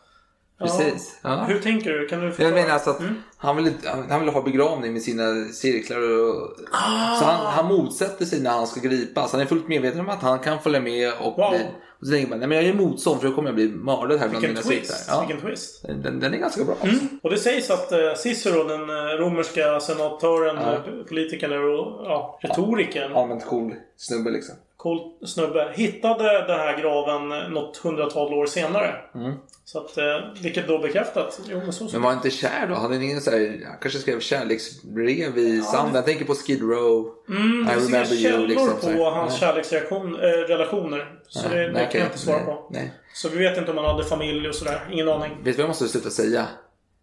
B: precis. Ja.
A: Hur Mm. tänker du? Kan du
B: Jag
A: förklara?
B: menar alltså att han ville han vill ha begravning med sina cirklar. Och,
A: Ah!
B: Så han, han motsätter sig när han ska gripas. Han är fullt medveten om att han kan följa med och
A: Wow.
B: bli... Och så tänker man, nej men jag är emot sånt för då kommer jag bli mördad här bland mina
A: Vilken
B: cirklar.
A: twist!
B: Ja.
A: Vilken Mm. twist!
B: Den, den är ganska bra. alltså.
A: Och det sägs att eh, Cicero, den eh, romerska senatören,
B: Ja.
A: eh, politikern och ja, retorikern,
B: Allmänt cool snubbe liksom.
A: cool snubbe, hittade den här graven eh, något hundratal år senare. Så att, eh, vilket då bekräftat. Jo, men så, så.
B: Mm. Men var han inte kär då? Hade han ingen så här, han kanske skrev kärleksbrev i sanden? Jag tänker på Skid Row.
A: Mm, det
B: I
A: finns inga
B: remember you,
A: källor
B: liksom, så här.
A: på hans
B: Nej.
A: kärleksrelationer. Så det, det
B: Nej,
A: kan
B: okej.
A: jag inte svara på.
B: Nej.
A: Så vi vet inte om han hade familj och sådär. Ingen aning.
B: Vet du vad jag måste sluta säga?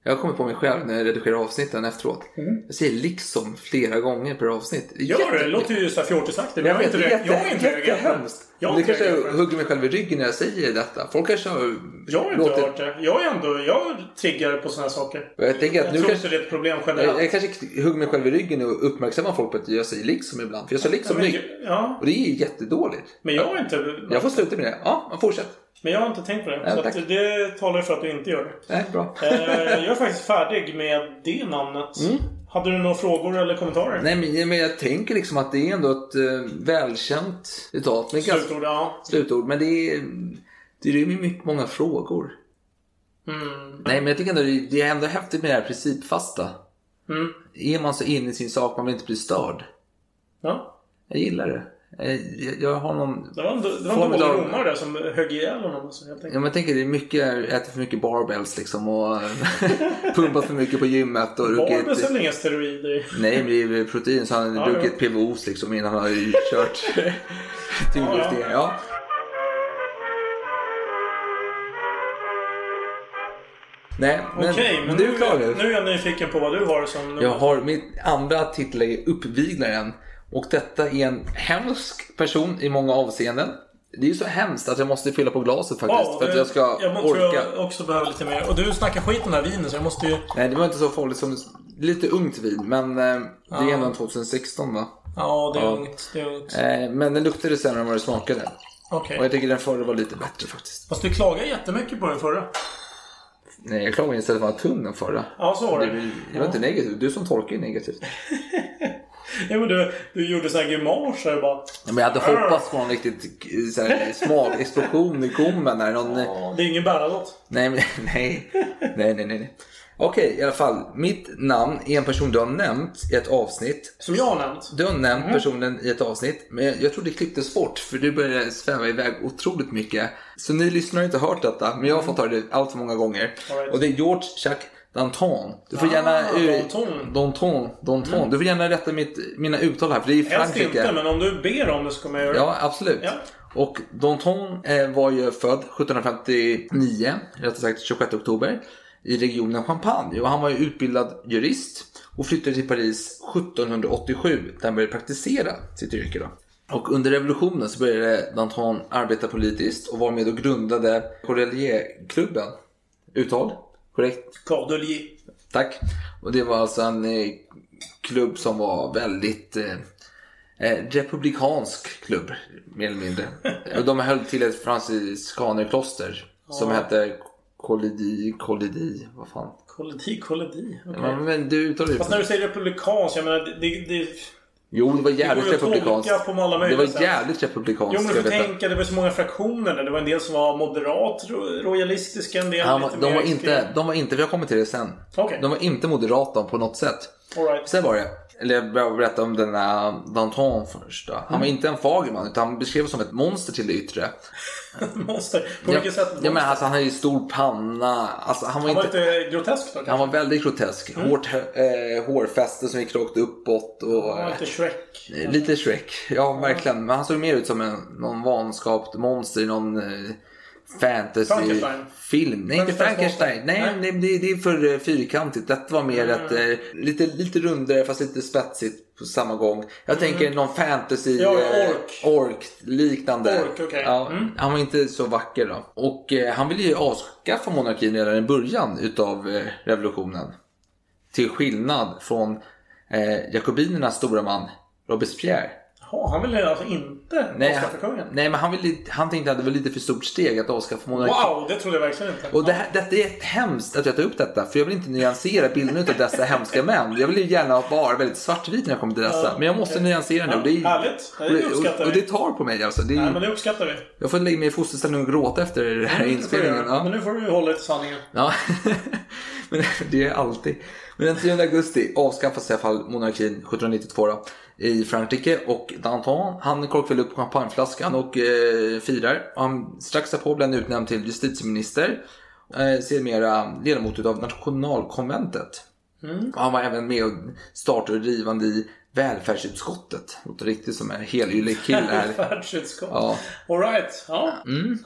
B: Jag kommer på mig själv när jag redigerar avsnitten efteråt. Jag säger liksom flera gånger per avsnitt. Det är
A: Mm. Gör det?
B: jätte-
A: Det låter ju såhär fjortisaktigt.
B: Jag vet,
A: inte
B: det är
A: det. Jag är
B: jätte-
A: inte reagerat
B: jättehemskt.
A: Jag har
B: Det
A: inte
B: kanske
A: reagerat på
B: jag
A: det.
B: hugger mig själv i ryggen när jag säger detta. Folk kanske har
A: Jag har inte hört det. Jag är ändå... Jag triggar på sådana här saker.
B: Och jag tänker att
A: jag
B: nu Eh,
A: tror
B: kanske-
A: inte det är ett problem generellt.
B: Jag, jag kanske k- hugger mig själv i ryggen och uppmärksammar folk på att jag säger liksom ibland. För jag sa liksom
A: men,
B: nytt.
A: ja,
B: Och det är jättedåligt.
A: men jag har inte...
B: Jag får sluta med det. Ja, men fortsätt.
A: Men jag har inte tänkt på det.
B: Nej,
A: så
B: tack.
A: att det talar ju för att du inte gör det.
B: Nej, bra.
A: Eh, jag är faktiskt färdig med det namnet. Hade du några frågor eller kommentarer?
B: Mm. Nej, men, men jag tänker liksom att det är ändå ett eh, välkänt citat. Men ganska
A: Slutord, ja.
B: slutord. Men det är... Det rymmer mycket många frågor.
A: Mm.
B: Nej, men jag tycker ändå det det är ändå häftigt med det här principfasta.
A: Mm.
B: Är man så inne i sin sak, man vill inte bli störd.
A: ja.
B: Jag gillar det. Eh, Jag, jag har någon...
A: Det var en, det var en
B: Formidabel.
A: dålig romare där som högg ihjäl honom. Alltså, helt
B: Ja,
A: enkelt.
B: men jag tänker det är mycket, äter för mycket barbells liksom och pumpat för mycket på gymmet och
A: Barbus är
B: druckit...
A: väl inga steroider?
B: Nej, men det är väl protein så han
A: Ja,
B: har druckit PVOs liksom innan han har ju kört tyngdlyftningar. Ja. Nej, men,
A: Okej, men,
B: du är
A: nu,
B: klar nu.
A: nu är jag nyfiken på vad du har som...
B: Jag har mitt andra titel är Uppviglaren. Och detta är en hemsk person i många avseenden. Det är ju så hemskt att jag måste fylla på glaset faktiskt.
A: Wow,
B: för att
A: det-
B: jag ska
A: jag må-
B: orka.
A: tror jag också behöver lite mer. Och du snackar skit om det här vinet så jag måste ju...
B: Nej, det var inte så farligt som... Lite ungt vin, men eh, det är ändå en 2016 va?
A: Ja, det är
B: Ja.
A: ungt. Det är ungt.
B: Eh, men den luktade sämre än vad den smakade.
A: Okej.
B: Och jag tycker den förra var lite bättre faktiskt.
A: Fast du klagar jättemycket på den förra.
B: Nej, jag klagar istället för att vara tunn den förra.
A: Ja, så var
B: Det
A: det.
B: var- det var inte negativt. Du som tolkar är negativt.
A: Ja, men du, du gjorde såhär grimaser och bara...
B: Men jag hade hoppats på en riktigt eh, så här, smakexplosion i gommen. När någon,
A: Det är ingen Bernadotte.
B: Nej, men, nej. nej, nej, nej. nej. Okej, i alla fall. Mitt namn är en person du har nämnt i ett avsnitt.
A: Som jag har nämnt.
B: Du har nämnt
A: Mm.
B: personen i ett avsnitt, men jag- jag tror det klipptes bort för du började sväva iväg otroligt mycket. Så ni lyssnare har inte hört detta, men jag har fått höra det allt för många gånger.
A: All right.
B: Och det är George Jacques Danton. Du får gärna...
A: Ah, Danton. Mm.
B: Danton. Danton. Du får gärna rätta mitt, mina uttal här, för det är i
A: Helst
B: Frankrike.
A: inte, men om du ber om det så kommer jag göra det.
B: Ja, absolut.
A: Ja.
B: Och Danton eh, var ju född 1759, rättare sagt 26 oktober, i regionen Champagne. Och han var ju utbildad jurist och flyttade till Paris 1787 där han började praktisera sitt yrke. Då. Och under revolutionen så började Danton arbeta politiskt och var med och grundade Corellierklubben. Uttal? Korrekt?
A: Cordelier.
B: Tack. Och det var alltså en eh, klubb som var väldigt eh, eh, republikansk klubb, mer eller mindre. Och de höll till ett franciskanerkloster som hette Kolidi, Kolidi, vad fan.
A: Cordelier, Cordelier. Okej.
B: Men, men du uttalar
A: Fast när
B: ju...
A: du säger republikansk, jag menar det... det, det
B: Jo, det var
A: det går
B: jävligt
A: ju att tolka
B: republikanskt.
A: på alla
B: Det
A: möjliga
B: var
A: sätt.
B: jävligt republikanskt.
A: Jo men du
B: jag
A: får
B: vet det.
A: tänka, det var så många fraktioner där. Det var en del som var moderat, ro- rojalistiska, en del
B: Han,
A: lite
B: var- de,
A: mer
B: var
A: extrema.
B: inte, de var inte, vi har kommit till det sen.
A: Okej.
B: De var inte moderata på något sätt.
A: All right.
B: Sen var det Eller jag behöver berätta om den här Danton först. Då. Han var
A: Mm.
B: inte en fager man utan han beskrevs som ett monster till det yttre.
A: Monster. På vilket
B: ja,
A: sätt?
B: ja, men alltså, han hade ju stor panna. Alltså, han, var
A: Han var Mm.
B: inte,
A: lite grotesk då
B: han
A: kanske?
B: var väldigt grotesk. Hårt eh, hårfäste som gick rakt uppåt. Och,
A: Han var lite Shrek.
B: eh, lite Shrek. Ja, verkligen. Men han såg mer ut som en, någon vanskapt monster i någon eh,
A: Frankenstein.
B: fantasyfilm. Nej, inte
A: Frankensteins
B: Frankenstein.
A: monster.
B: Nej, nej. Det, det är för eh, fyrkantigt. Detta var mer ett,
A: Mm.
B: eh, lite, lite rundare fast lite spetsigt på samma gång. Jag tänker någon fantasy...
A: Mm. Ja,
B: eh,
A: ork.
B: Ork liknande.
A: Ork, okej.
B: ja,
A: Mm.
B: Han var inte så vacker då. Och eh, han ville ju avskaffa monarkin redan i början utav eh, revolutionen. Till skillnad från eh, jakobinernas stora man Robespierre.
A: Jaha, han ville alltså inte
B: Nej,
A: avskaffa
B: han,
A: kungen?
B: nej men han, ville, han tänkte att det var lite för stort steg att avskaffa monarkin.
A: Wow, det trodde jag verkligen inte.
B: Och det här, detta är hemskt att jag tar upp detta, för jag vill inte nyansera bilden av dessa hemska män. Jag vill ju gärna vara väldigt svartvit när jag kommer till dessa.
A: Ja,
B: Men jag måste
A: okej.
B: nyansera nu.
A: Ja,
B: och det är-
A: härligt. Det
B: och det-
A: uppskattar
B: och, och det
A: vi.
B: tar på mig alltså. Det är,
A: Nej, men det uppskattar vi.
B: Jag får lägga mig i fosterställning och gråta efter den här inspelningen. Ja.
A: Men nu får du hålla dig till sanningen.
B: Ja, men det är alltid. Men den 10 augusti avskaffas i alla fall monarkin 1792 då, i Frankrike och Danton han korkar väl upp champagneflaskan och eh, firar. Och han, strax därpå blir han utnämnd till justitieminister. Eh, sedermera ledamot utav nationalkonventet.
A: Mm.
B: Och han var även med och startade och drivande i välfärdsutskottet. Låter riktigt som en helylig kille här.
A: Välfärdsutskott.
B: Ja. Mm.
A: Alright. Ja,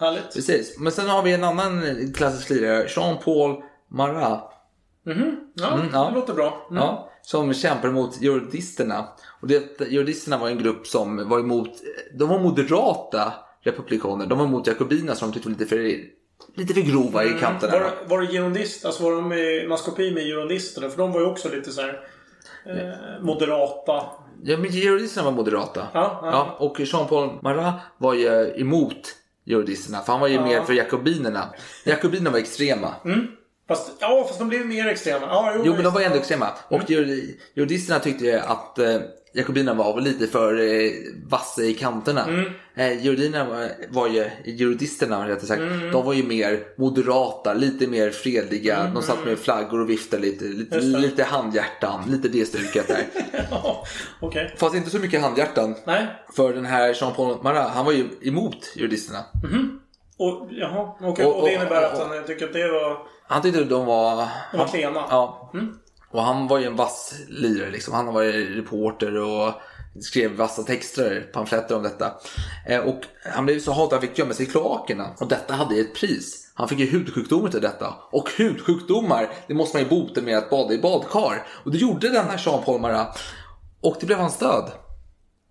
A: härligt.
B: Precis. Men sen har vi en annan klassisk lirare, Jean-Paul Marat.
A: Ja,
B: ja.
A: Det låter bra. Mm.
B: ja, som kämpar mot juridisterna. Och det, juridisterna var en grupp som var emot, de var moderata republikaner. De var emot jakobinerna som de tyckte var lite för, lite för grova i kanterna.
A: Mm. Var, var det girondist? Alltså var de i maskopi med girondisterna? För de var ju också lite så här eh, moderata.
B: Ja, men juridisterna var moderata.
A: Ja, ja.
B: och Jean-Paul Marat var ju emot juridisterna. För han var ju mer för jakobinerna. Jakobinerna var extrema.
A: Fast, ja, fast de blev mer extrema. Ja, jo,
B: Jo, men de
A: visst.
B: var ändå extrema.
A: Mm.
B: Och jur- juridisterna tyckte ju att eh, jakobinerna var väl lite för eh, vassa i kanterna.
A: Mm.
B: Eh, juridisterna var, var ju, juridisterna rättare sagt,
A: Mm.
B: de var ju mer moderata, lite mer fredliga. De satt med flaggor och viftade lite, lite,
A: Mm. Just det.
B: lite handhjärtan, lite det stuket där.
A: Ja, Okej.
B: Fast inte så mycket handhjärtan.
A: Nej.
B: För den här Jean-Paul Marat, han var ju emot juridisterna.
A: Och, jaha, okej.
B: Och-
A: Och, det
B: och-
A: innebär att
B: och-
A: han tycker att det var...
B: Han tyckte de var...
A: De var klena.
B: Ja. Och han var ju en vass lirare liksom. Han har varit reporter och skrev vassa texter, pamfletter om detta. Eh, och han blev så hatad att han fick gömma sig i kloakerna. Och detta hade ju ett pris. Han fick ju hudsjukdomar till detta. Och hudsjukdomar, det måste man ju bota med att bada i badkar. Och det gjorde den här Jean-Paul Marat. Och det blev hans död.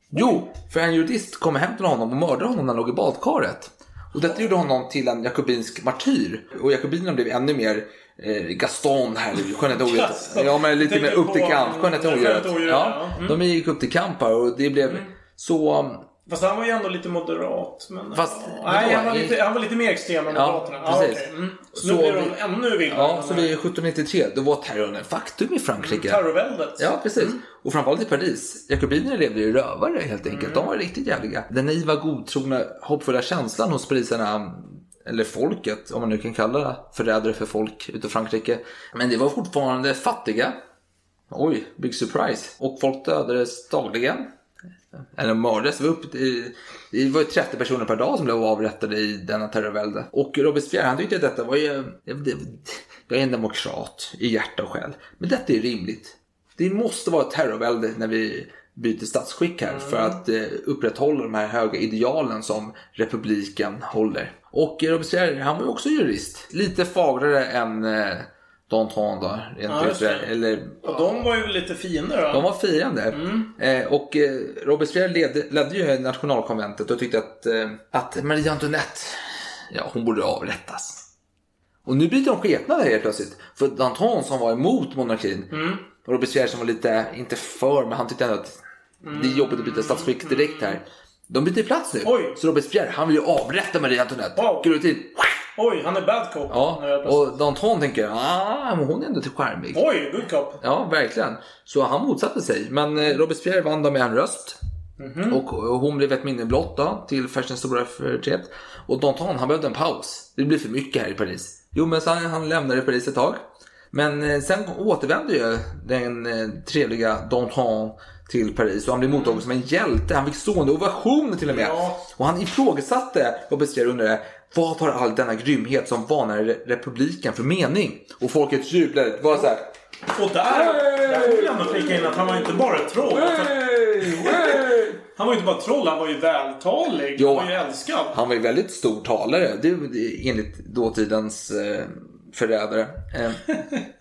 B: Jo, för en judist kom hem till honom och mördade honom när han låg i badkaret. Och detta gjorde honom till en jakobinsk martyr. Och jakobinerna blev ännu mer eh, Gaston här, skönheten och odjuret.
A: Gaston.
B: Ja, men lite
A: Tänker
B: mer upp till
A: på,
B: kamp, skönheten och
A: eh,
B: odjuret.
A: Skönheten och odjuret,
B: Ja,
A: ja. Mm.
B: de gick upp till kamp här och det blev så...
A: Fast han var ju ändå lite moderat. Men,
B: Fast-
A: nej,
B: vadå?
A: han var, lite, han var lite mer extrem än
B: Ja,
A: Moderaterna.
B: precis.
A: okej. mm. Så
B: Så
A: nu blir de
B: vi-
A: ännu vildare.
B: Ja, så vid 1793, då var terrorn ett faktum i Frankrike.
A: Terrorväldet.
B: Ja, precis. Och framförallt i Paris. Jakobinerna levde ju rövare helt enkelt. De var riktigt jävliga. Den naiva, godtrogna, hoppfulla känslan hos parisarna, eller folket, om man nu kan kalla det förrädare för folk utav Frankrike. Men det var fortfarande fattiga. Oj, big surprise. Och folk dödades dagligen. Eller mördades. Det var, upp i, det var ju 30 personer per dag som blev avrättade i denna terrorvälde. Och Robespierre han tyckte att detta var ju... det- det- Jag är en demokrat i hjärta och själ. Men detta är rimligt. Det måste vara ett terrorvälde när vi byter statsskick här för
A: Mm.
B: att eh, upprätthålla de här höga idealen som republiken håller. Och eh, Robespierre, han var ju också jurist. Lite fagrare än eh, Danton då, rent
A: Ja, just det.
B: yttre. Eller
A: Och de var ju lite fiender då.
B: de var firande.
A: Mm.
B: Eh, och eh, Robespierre ledde, ledde ju nationalkonventet och tyckte att, eh, att Marie Antoinette, ja hon borde avrättas. Och nu byter de skepnad här helt plötsligt. För Danton som var emot monarkin
A: Mm.
B: och Robespierre som var lite, inte för, men han tyckte ändå att det är jobbigt att byta statsskick direkt här. De byter plats nu.
A: Mm. Oj.
B: Så Robespierre, han vill ju avrätta Marie Antoinette.
A: Wow.
B: Går ut till.
A: Oj, han är bad cop.
B: Ja.
A: Nu är jag plötsligt-
B: Och Danton tänker, ah, men hon är ändå till charmig.
A: Oj, good cop.
B: Ja, verkligen. Så han motsatte sig. Men eh, Robespierre vann då med en röst. Och och hon blev ett minne blott då, till Fersens stora förtret. Och Danton, han behövde en paus. Det blev för mycket här i Paris. Jo, men så han, han lämnade Paris ett tag. Men eh, sen återvände ju den eh, trevliga Danton till Paris och han blev mottagen som en hjälte. Han fick stående ovationer till och med.
A: Ja.
B: Och han ifrågasatte, jag beskrev under det, vad har all denna grymhet som vanade re- republiken för mening? Och folket jublade. Det var så här.
A: Och där, där får vi ändå flika in att han var inte bara ett troll. Alltså- Han var ju inte bara ett troll, han var ju vältalig.
B: Ja.
A: Han var ju älskad.
B: Han var ju väldigt stor talare, det, det, enligt dåtidens eh, förrädare. Eh,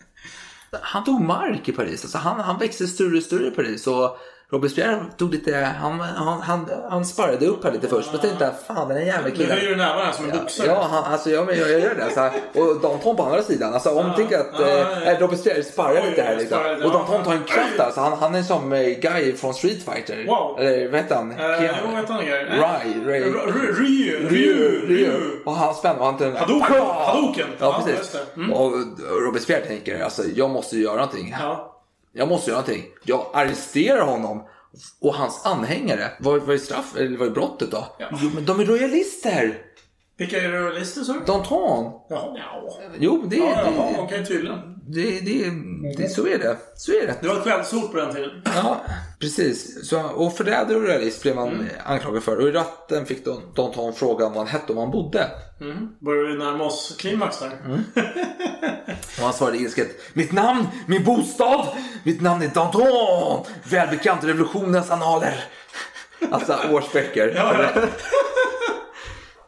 B: han tog mark i Paris, alltså han, han växte större och större i Paris. Och Robespierre tog lite, han, han, han, han sparrade upp här lite först. Då tänkte jag, fan den här jävla
A: Du
B: killen.
A: höjer ju nävarna som en boxare.
B: Ja, han, alltså jag, men jag jag gör det. Så här. Och Danton på andra sidan. Alltså, om
A: Ja,
B: tänker att
A: ja,
B: eh,
A: ja.
B: Robespierre sparrar
A: Oj,
B: lite här.
A: jag
B: Liksom.
A: sparrade,
B: Och
A: ja.
B: Danton tar en kraft alltså. han, han är som eh, Guy från Street Fighter.
A: Wow.
B: Eller vad heter han?
A: Eh,
B: Keanu.
A: Jo, vad hette han? igen?
B: Rai, Ray.
A: R- R- Ryu.
B: Ryu,
A: Ryu.
B: Ryu.
A: Ryu.
B: Och han spänner och han till
A: Hadoken, Hadoken.
B: Ja,
A: Ja,
B: precis.
A: just det. Mm.
B: Och Robespierre tänker alltså, jag måste ju göra någonting.
A: Ja.
B: Jag måste göra någonting. Jag arresterar honom. Och hans anhängare, vad, vad är straff, eller vad är brottet då?
A: Ja.
B: Jo, men de är royalister!
A: Vilka är det lister sa du?
B: Danton!
A: Jaha. Ja,
B: Jo, det,
A: jaha,
B: det,
A: okej, tydligen.
B: det, det, det, så är det. Så är det.
A: Det var ett skällsord på den tiden.
B: Ja, precis. Så, och förrädare och realist blev
A: Mm.
B: han anklagad för. Och i ratten fick Don- Danton frågan vad han hette och var han bodde.
A: Börjar vi närma oss klimax där?
B: Mm. Och han svarade ilsket. Mitt namn, min bostad, mitt namn är Danton. Välbekant i revolutionens annaler. Alltså årsböcker.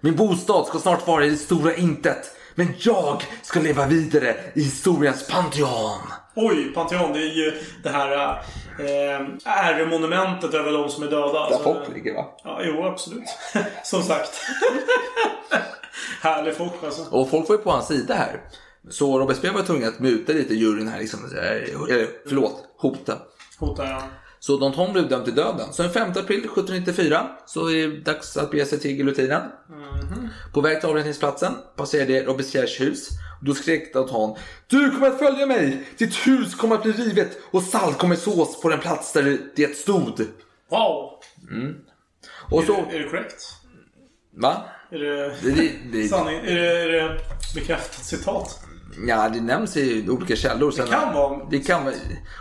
B: Min bostad ska snart vara i det stora intet. Men jag ska leva vidare i historiens Pantheon.
A: Oj, Pantheon. Det är ju det här eh, äremonumentet över de som är döda.
B: Där
A: Alltså,
B: folk ligger va?
A: Ja, jo, absolut. Som sagt. Härlig folk alltså.
B: Och folk var ju på hans sida här. Så Robespierre var tvungen att muta lite juryn här liksom. eh, Eller förlåt, hota.
A: Hotar jag.
B: Så Danton blev dömd till döden. Så den 5 april 1794 så är det dags att bege sig till giljotinen.
A: Mhm.
B: På väg till avrättningsplatsen passerade Robespierres hus. Då skrek Danton. Du kommer att följa mig! Ditt hus kommer att bli rivet och salt kommer att sås på den plats där det stod.
A: Wow!
B: Och
A: Är,
B: så...
A: det, är det korrekt?
B: Va?
A: Är det...
B: Det, det, det,
A: Sanning, är det, är det bekräftat citat?
B: Ja, det nämns i olika källor. Sen,
A: kan vara-
B: Det kan vara-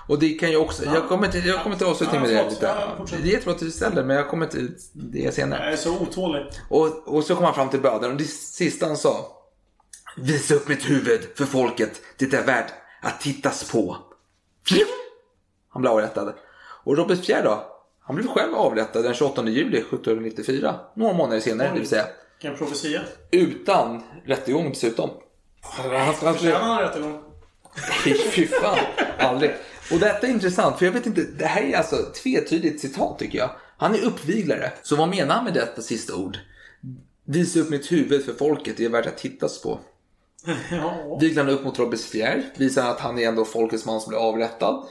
B: Och det kan ju också... Jag kommer till, jag kommer till avslutningen med
A: Ja,
B: det
A: förlåt.
B: lite.
A: Ja, fortsätt.
B: Det är jättebra att du ställer, men jag kommer till det senare.
A: Jag är så otålig.
B: Och, och så kom han fram till bödeln och det sista han sa. Visa upp mitt huvud för folket. Det är värt att tittas på. Fjum! Han blev avrättad. Och Robespierre då? Han blev själv avrättad den 28 juli 1794. Några månader senare, det vill säga.
A: Kan jag profetia?
B: Utan rättegång dessutom. Han, han,
A: Förtjänar han en rättegång?
B: Nej, Fy fan, aldrig. Och detta är intressant, för jag vet inte, det här är alltså ett tvetydigt citat tycker jag. Han är uppviglare, så vad menar han med detta sista ord? Visa upp mitt huvud för folket, det är värt att tittas på.
A: Ja.
B: Viglar han upp mot Robespierre, visar att han är ändå folkets man som blir avrättad.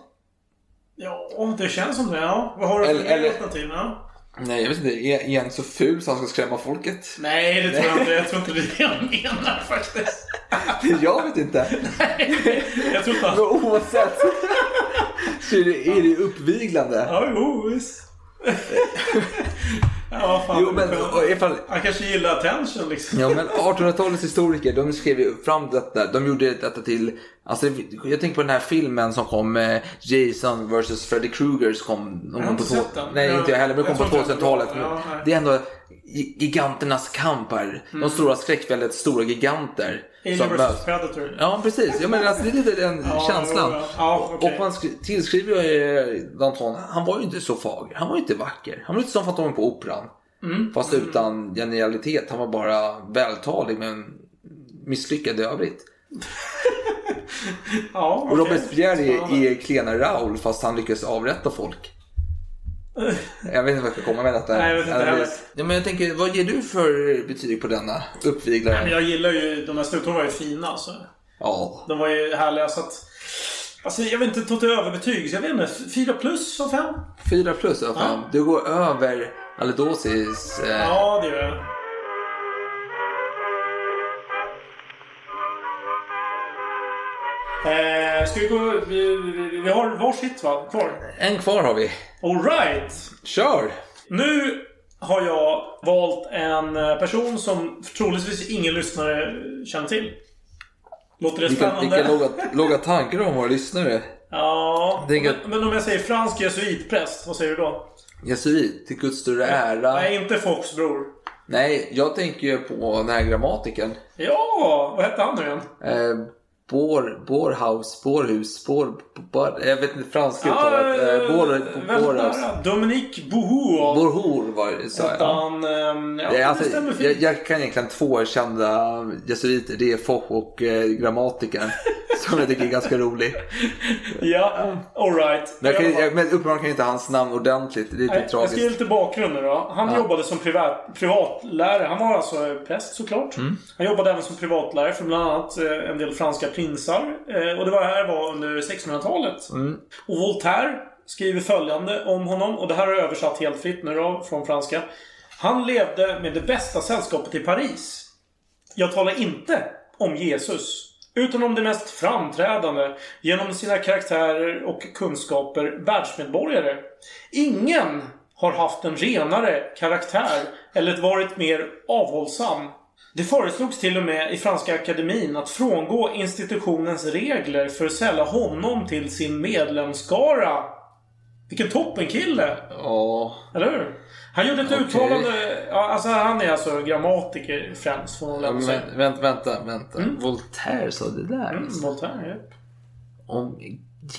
A: Ja, det känns som det. Ja. Vad har du för
B: Eller- eller-
A: alternativ? Ja.
B: Nej, jag vet inte, är, är han så ful så han ska skrämma folket?
A: Nej, det tror jag inte. Jag tror inte det är det han menar faktiskt.
B: Jag vet inte.
A: Jag tror inte
B: Men
A: han...
B: oavsett så är det, är det uppviglande.
A: Ja, jo, visst. ja, vad fan.
B: Jo, men och ifall,
A: Han kanske gillar attention liksom.
B: Ja men 1800-talets historiker de skrev ju fram detta. De gjorde detta till, alltså jag tänker på den här filmen som kom eh, Jason vs Freddy Krueger som kom. någon
A: har
B: gång
A: inte
B: på
A: sett den.
B: Nej
A: Jag-
B: inte jag heller men den kom
A: jag
B: på
A: tror inte jag
B: 2000-talet.
A: tror- ja, nej.
B: det är ändå gi- giganternas kamp här. De stora skräckväldets stora giganter.
A: Alien
B: som
A: vs
B: möts.
A: Predator.
B: Ja precis, jag menar alltså, det är lite den
A: Ja,
B: känslan.
A: jo, ja. Ja, okej.
B: Och man skri- tillskriver ju eh, Danton, han var ju inte så fager, han var ju inte vacker. Han var lite som Fantomen på Operan.
A: Mm.
B: Fast utan genialitet, han var bara vältalig men misslyckad i övrigt.
A: Ja,
B: Och
A: okej.
B: Robespierre är,
A: Spännande.
B: är klena Raoul fast han lyckas avrätta folk. Jag vet inte vad jag ska komma med detta.
A: Nej, jag vet inte
B: Eller-
A: heller.
B: ja, men jag tänker, vad ger du för betyg på denna
A: Men
B: uppviglare?
A: jag gillar ju... De här snutarna var ju fina alltså.
B: Ja,
A: De var ju härliga så att... Alltså jag vill inte ta till överbetyg, så jag vet inte. fyra plus av fem?
B: fyra plus av fem.
A: Ja.
B: Du går över Alidosis eh,
A: Ja, det gör jag. Eh, ska vi gå... Vi, vi, vi har varsitt va? Kvar.
B: En kvar har vi.
A: Alright!
B: Kör!
A: Nu har jag valt en eh, person som troligtvis ingen lyssnare känner till. Låter det
B: Vilka,
A: spännande?
B: vilka låga, låga tankar om våra lyssnare.
A: Ja,
B: Det är
A: men,
B: gött.
A: men om jag säger fransk jesuitpräst, vad säger du då?
B: Jesuit, till Guds större ära.
A: Nej, inte Fox bror.
B: Nej, jag tänker ju på den här grammatikern.
A: Ja, vad hette han nu igen?
B: Eh, Bår, Bårhaus, Bårhus, Bår... Bår jag vet inte franska uttalet.
A: eh,
B: Eh, Bårhaus.
A: väldigt nära. Dominique Bohou.
B: Bårhor var det, sa jag.
A: Han, ehm, ja,
B: Ja,
A: det
B: alltså,
A: stämmer
B: jag,
A: fint.
B: jag kan egentligen två kända jesuiter. Det är Foch och eh, grammatikern. som jag tycker är ganska rolig.
A: Ja, alright.
B: Men, jag kan, jag, men uppenbarligen kan jag inte hans namn ordentligt. Det är lite
A: Nej, Jag ska ge
B: tragiskt.
A: lite bakgrund nu då. Han jobbade som privat, privatlärare. Han var alltså präst såklart.
B: Mm.
A: Han jobbade även som privatlärare för bland annat eh, en del franska prinsar. Eh, Och det var här var under 1600-talet.
B: Mm.
A: Och Voltaire skriver följande om honom. Och det här har jag översatt helt fritt nu då, från franska. Han levde med det bästa sällskapet i Paris. Jag talar inte om Jesus. Utan om det mest framträdande, genom sina karaktärer och kunskaper, världsmedborgare. Ingen har haft en renare karaktär eller varit mer avhållsam. Det föreslogs till och med i Franska Akademin att frångå institutionens regler för att sälja honom till sin medlemskara. Vilken toppenkille!
B: Ja,
A: Eller hur? Han gjorde ett uttalande... Ja, alltså han är alltså grammatiker främst, får man
B: ja,
A: väl
B: men
A: säga.
B: vä- vänta, vänta, vänta. Voltaire sa det där.
A: Mm, Voltaire, ja.
B: Om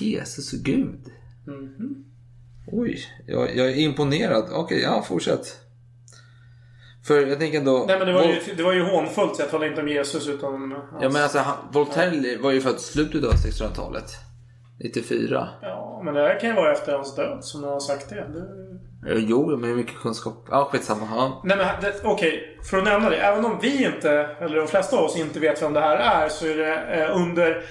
B: Jesus och Gud.
A: Mhm.
B: Oj, jag, jag är imponerad. Okej, ja, fortsätt. För jag tänker ändå...
A: Nej men det var
B: Vol-
A: ju, det var ju hånfullt så jag talar inte om Jesus utan... om hans-
B: Ja, men alltså, han, Voltaire var ju född i slutet av 1600-talet. 94.
A: ja, men det här kan ju vara efter hans död som någon har sagt det. det...
B: Eh, Jo, men hur mycket kunskap? Ja, skitsamma. Ja.
A: Nej men det- okej, för att nämna det. Även om vi inte, eller de flesta av oss inte vet vem det här är så är det eh, under...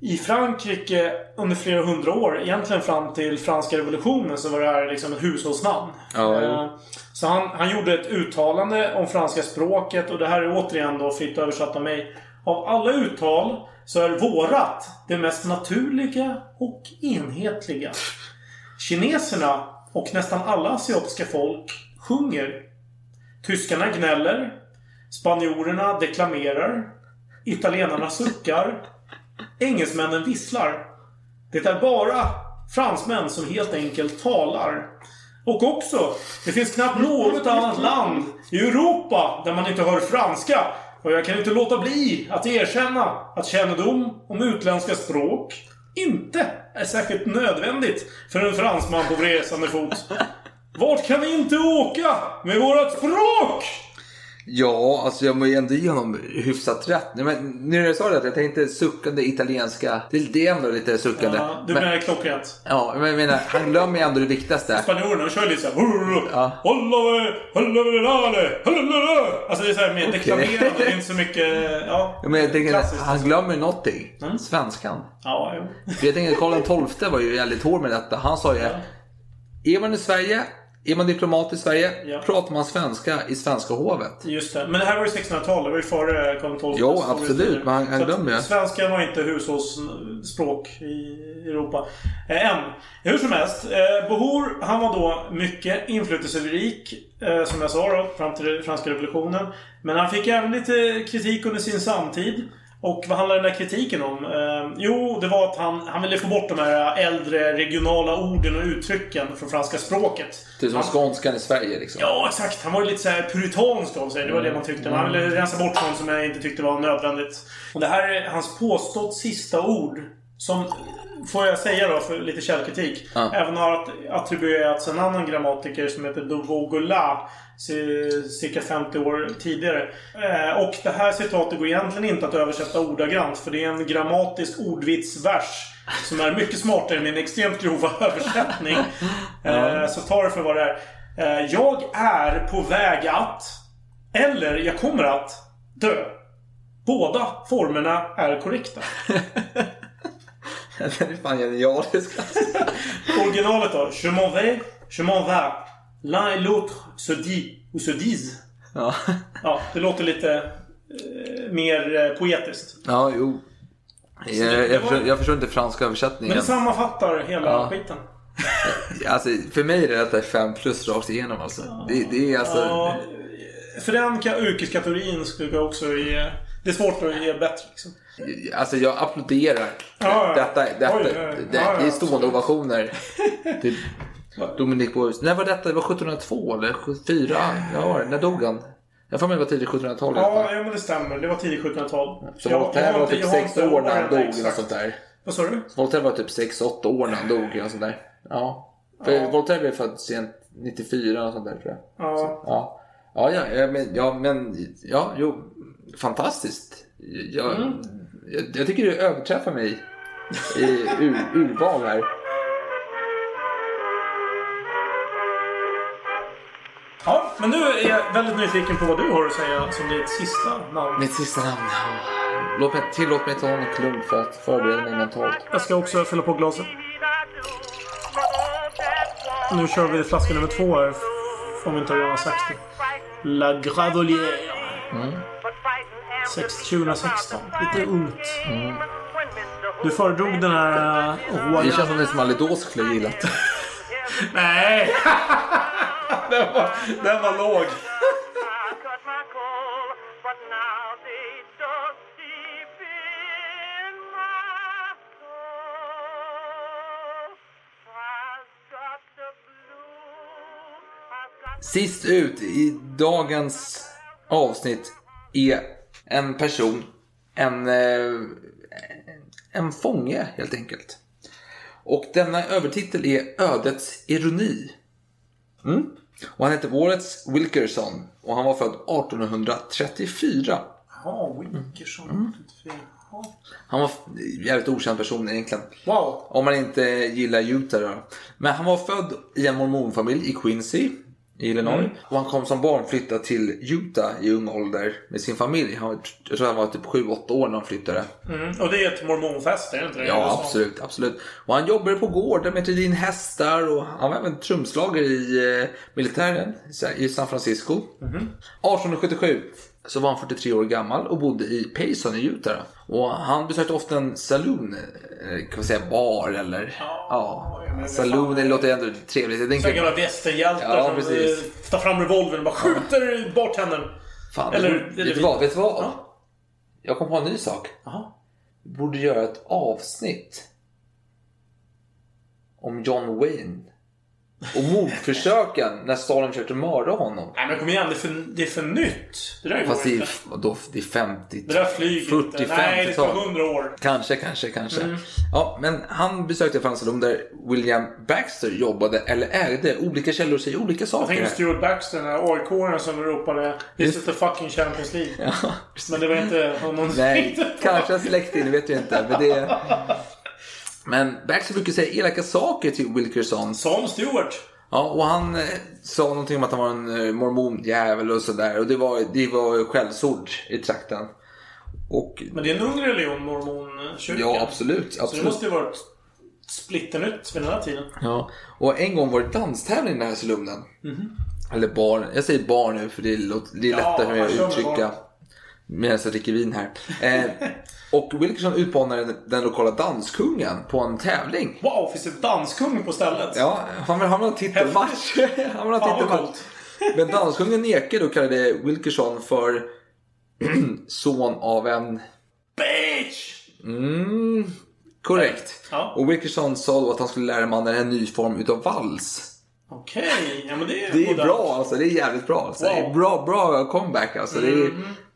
A: I Frankrike under flera hundra år, egentligen fram till franska revolutionen, så var det här liksom ett hushållsnamn.
B: Ja, jo.
A: Eh, Så han, han gjorde ett uttalande om franska språket och det här är återigen då fritt översatt av mig. Av alla uttal så är vårat det mest naturliga och enhetliga. Kineserna och nästan alla asiatiska folk sjunger. Tyskarna gnäller. Spanjorerna deklamerar. Italienarna suckar. Engelsmännen visslar. Det är bara fransmän som helt enkelt talar. Och också, det finns knappt något annat land i Europa där man inte hör franska. Och jag kan inte låta bli att erkänna att kännedom om utländska språk inte är särskilt nödvändigt för en fransman på resande fot. Vart kan vi inte åka med vårt språk?
B: ja, alltså jag må ju ändå ge honom hyfsat rätt. Nej, men, nu när jag sa det, jag tänkte suckande italienska. Det är det ändå lite suckande.
A: Ja, du
B: men,
A: menar klockrent.
B: ja, men jag menar, han glömmer ju ändå det viktigaste.
A: Spanjorerna de kör lite såhär... Alltså det är såhär mer deklamerande. Det är inte så mycket... Ja,
B: Ja, men jag tänker,
A: klassiskt. Mm.
B: han glömmer ju någonting. Svenskan.
A: Ja, jo.
B: För jag tänker, Karl XII var ju väldigt hård med detta. Han sa ju, är man i Sverige, är man diplomat i Sverige,
A: Ja.
B: pratar man svenska i svenska hovet.
A: Just det. Men det här var ju 1600-talet. Det var ju före eh, Karl XII.
B: Jo, absolut, men han- han
A: Så att
B: glömmer ju.
A: Svenskan var inte hushållsspråk i Europa. Eh, än. Hur som helst. Eh, Bohor, han var då mycket inflytelserik. Eh, som jag sa då, fram till den franska revolutionen. Men han fick även lite kritik under sin samtid. Och vad handlar den där kritiken om? Eh, jo, det var att han, han ville få bort de här äldre regionala orden och uttrycken från franska språket.
B: Typ som
A: Han-
B: skånskan i Sverige liksom.
A: Ja, exakt. Han var ju lite så här puritansk av sig. Det var det man tyckte. Man
B: Mm.
A: ville rensa bort sånt som jag inte tyckte var nödvändigt. Och det här är hans påstått sista ord. Som, får jag säga då, för lite källkritik.
B: Ja.
A: Även har att- attribuerats en annan grammatiker som heter de Vaugola. c- Cirka 50 år tidigare. Eh, Och det här citatet går egentligen inte att översätta ordagrant. För det är en grammatisk ordvitsvers. Som är mycket smartare med en extremt grova översättning. Eh, Så ta det för vad det är. Eh, Jag är på väg att eller jag kommer att dö. Båda formerna är korrekta.
B: Det är fan genialiskt.
A: Originalet då. Je m'en vais, je m'en vas. L'un et l'autre se dit ou se disent.
B: Ja.
A: Ja, det låter lite eh, mer eh, poetiskt.
B: ja, jo. Jag, jag, förstår, jag förstår inte franska
A: Alltså, Men
B: översättningen.
A: det sammanfattar hela
B: Ja.
A: skiten.
B: Alltså, för mig är detta 5 plus rakt igenom alltså. Det, det är alltså...
A: Ja, för den ka- yrkeskategorin skulle jag också ge... Det är svårt att ge bättre liksom.
B: Alltså jag applåderar.
A: Ja, ja.
B: Detta, detta,
A: Oj, ja, ja.
B: det,
A: Ja,
B: det
A: ja,
B: är stående ovationer. till Dominic Bois. När var detta? Det var 1702 eller 74? Ja, var det. när dog han? Jag får mig det var tidigt 1700-tal. i alla fall.
A: Ja, ja, men det stämmer. Det var tidigt 1700-tal.
B: Så
A: Jag- jag
B: Voltaire
A: har
B: var
A: inte-
B: typ
A: jag har
B: 6
A: inte
B: år när han
A: åren
B: dog. liksom, Eller något
A: exakt.
B: sånt där.
A: Vad sa du?
B: Voltaire var typ 6-8 år när han dog. Eller något sånt där. Ja. För Voltaire blev född sent 94 och sånt där tror jag.
A: Ja.
B: Ja, ja, ja, ja, men, ja, men, ja jo, fantastiskt. Jag, jag, jag tycker du överträffar mig i ur, urval här.
A: ja, men nu är jag väldigt nyfiken på vad du har att säga som ditt sista namn.
B: Mitt sista namn. Låt mig, tillåt mig ta en klunk för att förbereda mig mentalt.
A: Jag ska också fylla på glaset. Nu kör vi flaska nummer två här. Om vi inte har redan sagt det. La Gravolière. 2016. Lite ungt. Du föredrog den här... eh,
B: Det
A: Royal...
B: känns som det som Alidå skulle gillat.
A: Nej! den, var, den var låg.
B: Sist ut i dagens avsnitt är en person, en, eh, en fånge helt enkelt. Och denna övertitel är Ödets ironi. Mm. Och han heter Wallace Wilkerson och han var född 1834.
A: Ja,
B: Mm.
A: Winkerson.
B: Han var en jävligt okänd person egentligen.
A: Wow.
B: Om man inte gillar Utah då. Men han var född i en mormonfamilj i Quincy i Illinois. Och han kom som barn flytta till Utah i ung ålder med sin familj. Han, jag tror han var typ 7-8 år när han flyttade.
A: Mm. Och det är ett mormonfest, är det inte det? I
B: Ja,
A: USA?
B: absolut, absolut. Och han jobbade på gården med din hästar och han var även trumslagare i eh, militären i Sa- i San Francisco.
A: Mhm.
B: 1877 så var han 43 år gammal och bodde i Payson i Utah. då. Och han besökte ofta en saloon, eh, kan man säga bar eller? Ja,
A: jag menar,
B: saloon
A: fan.
B: det låter ändå trevligt. Jag
A: Så här
B: tänker,
A: gamla västerhjältar
B: Ja,
A: som
B: precis.
A: eh, tar fram revolvern och bara skjuter bartendern.
B: fan,
A: eller-
B: eller, vet,
A: eller-
B: du vad, vet du vad?
A: Ja.
B: Jag kom på en ny sak.
A: Jaha.
B: Vi borde göra ett avsnitt om John Wayne och mordförsöken när Stalin försökte mörda honom.
A: Nej men kom igen, det är för, det är för nytt. Det där går
B: Fast det
A: inte.
B: är, vadå, det är 50
A: Det där flyger inte. Nej, det tar
B: 40-50-tal.
A: hundra år.
B: Kanske, kanske, kanske. Ja, men han besökte en salon där William Baxter jobbade eller ägde. Olika källor säger olika
A: Jag
B: saker.
A: tänker på Stuart Baxter, den här AIK-aren som ropade This is the fucking Champions League.
B: Ja, precis.
A: Men det var inte honom som
B: Nej,
A: tänkte på.
B: kanske en släkting, det vet jag inte. Men, det... men Baxter brukar säga elaka saker till Wilkerson.
A: Som Stuart.
B: Ja, och han eh, sa någonting om att han var en eh, mormonjävel och sådär. Och det var, det var skällsord i trakten. Och
A: Men det är en ung religion, mormonkyrkan.
B: ja, absolut.
A: Så det
B: absolut.
A: måste ju varit splitternytt vid den här tiden.
B: Ja, och en gång var det danstävling i den här salonen. Eller barn. Jag säger barn nu för det är, låt- det är
A: Mhm. Ja,
B: lättare för mig
A: man
B: att
A: kör med barn.
B: uttrycka. Medan jag dricker vin här. Eh, och Wilkerson utmanade den, den lokala danskungen på en tävling.
A: Wow, finns det danskung på stället?
B: Ja, han vill han vill ha en titelmatch. Han vill ha
A: Fan
B: en
A: vad
B: titelmatch.
A: coolt.
B: Men danskungen nekade och kallade Wilkerson för son av en...
A: Bitch!
B: Mm, korrekt.
A: Ja.
B: Och Wilkerson sa då att han skulle lära mannen en ny form utav vals.
A: Okej, ja men det är
B: Det är
A: modernt.
B: bra alltså. Det är jävligt bra. Alltså.
A: Wow. Mm.
B: Det är bra, bra comeback alltså. Det, är,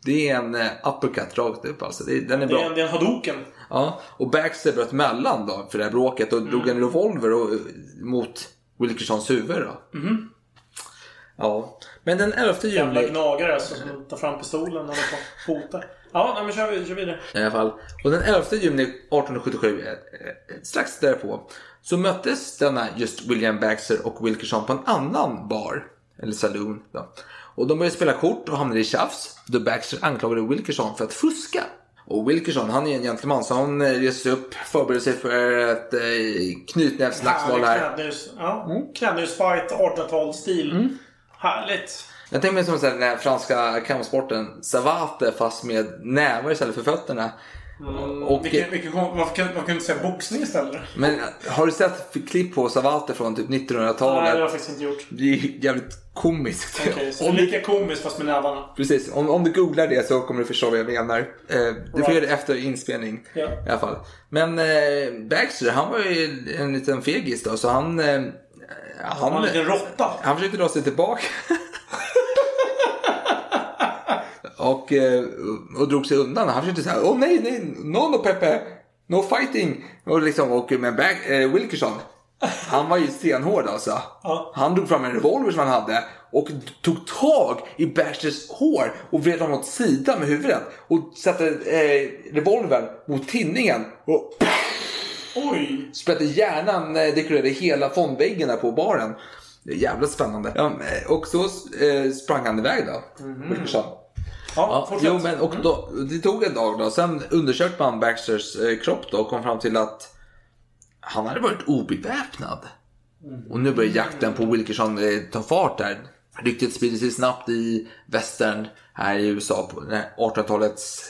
B: det är en eh, uppercut rakt upp alltså. Det, den är
A: Det är, en,
B: bra.
A: det är en hadoken.
B: Ja. Och Baxter bröt mellan då för det här bråket och drog en revolver och, mot Wilkersons huvud då. Ja. Men den 11
A: Jävla
B: juli
A: gnagare alltså, som tar fram pistolen och håller på och fotar. Ja, nej, men kör, vi, kör vidare.
B: i alla fall. Och den 11 juni 1877, eh, eh, strax därpå, så möttes denna just William Baxter och Wilkerson på en annan bar, eller saloon. Då. Och de började spela kort och hamnade i tjafs, då Baxter anklagade Wilkerson för att fuska. Och Wilkerson, han är en gentleman, så han eh, reser sig upp, förbereder sig för ett eh, knytnävsslagsmål här.
A: Knädnus, ja.
B: Mm.
A: Knädnusfight, 1800-talsstil. Härligt.
B: Jag tänker mig som så här, den här franska kampsporten, savate fast med nävar istället för fötterna. Och,
A: Vilken, vilken, kon- varför kan varför kan du inte säga boxning istället?
B: men har du sett klipp på Savalter från typ
A: Nej, det har
B: 1900-talet?
A: jag faktiskt inte gjort.
B: Det är ju jävligt komiskt.
A: Okej, så
B: Om du-
A: lika komiskt fast med nävarna.
B: Precis, om, om du googlar det så kommer du förstå vad jag menar. Eh, du får göra det efter inspelning
A: Ja.
B: i alla fall. Men eh, Baxter, han var ju en liten fegis då, så han... Eh, han,
A: Han var en liten råtta.
B: han försökte dra sig tillbaka. och, eh, och drog sig undan. Han försökte säga åh nej, nej, no, no Pepe, no fighting. Och liksom, och, men Bag- eh, Wilkerson, han var ju stenhård alltså.
A: Ja.
B: Han drog fram en revolver som han hade och tog tag i Baxters hår och vred honom åt sidan med huvudet och satte eh, revolvern mot tinningen och
A: Oj!
B: sprätte hjärnan, eh, dekorerade hela fondväggen där på baren. Det är jävla spännande. Ja, eh, och så eh, sprang han iväg då, Wilkerson.
A: Ja,
B: Ja,
A: fortsätt.
B: jo, men och då, det tog en dag då. Sen undersökte man Baxters eh, kropp då och kom fram till att han hade varit obeväpnad. Och nu börjar jakten på Wilkerson eh, ta fart där. Ryktet sprider sig snabbt i västern här i USA på den här 1800-talets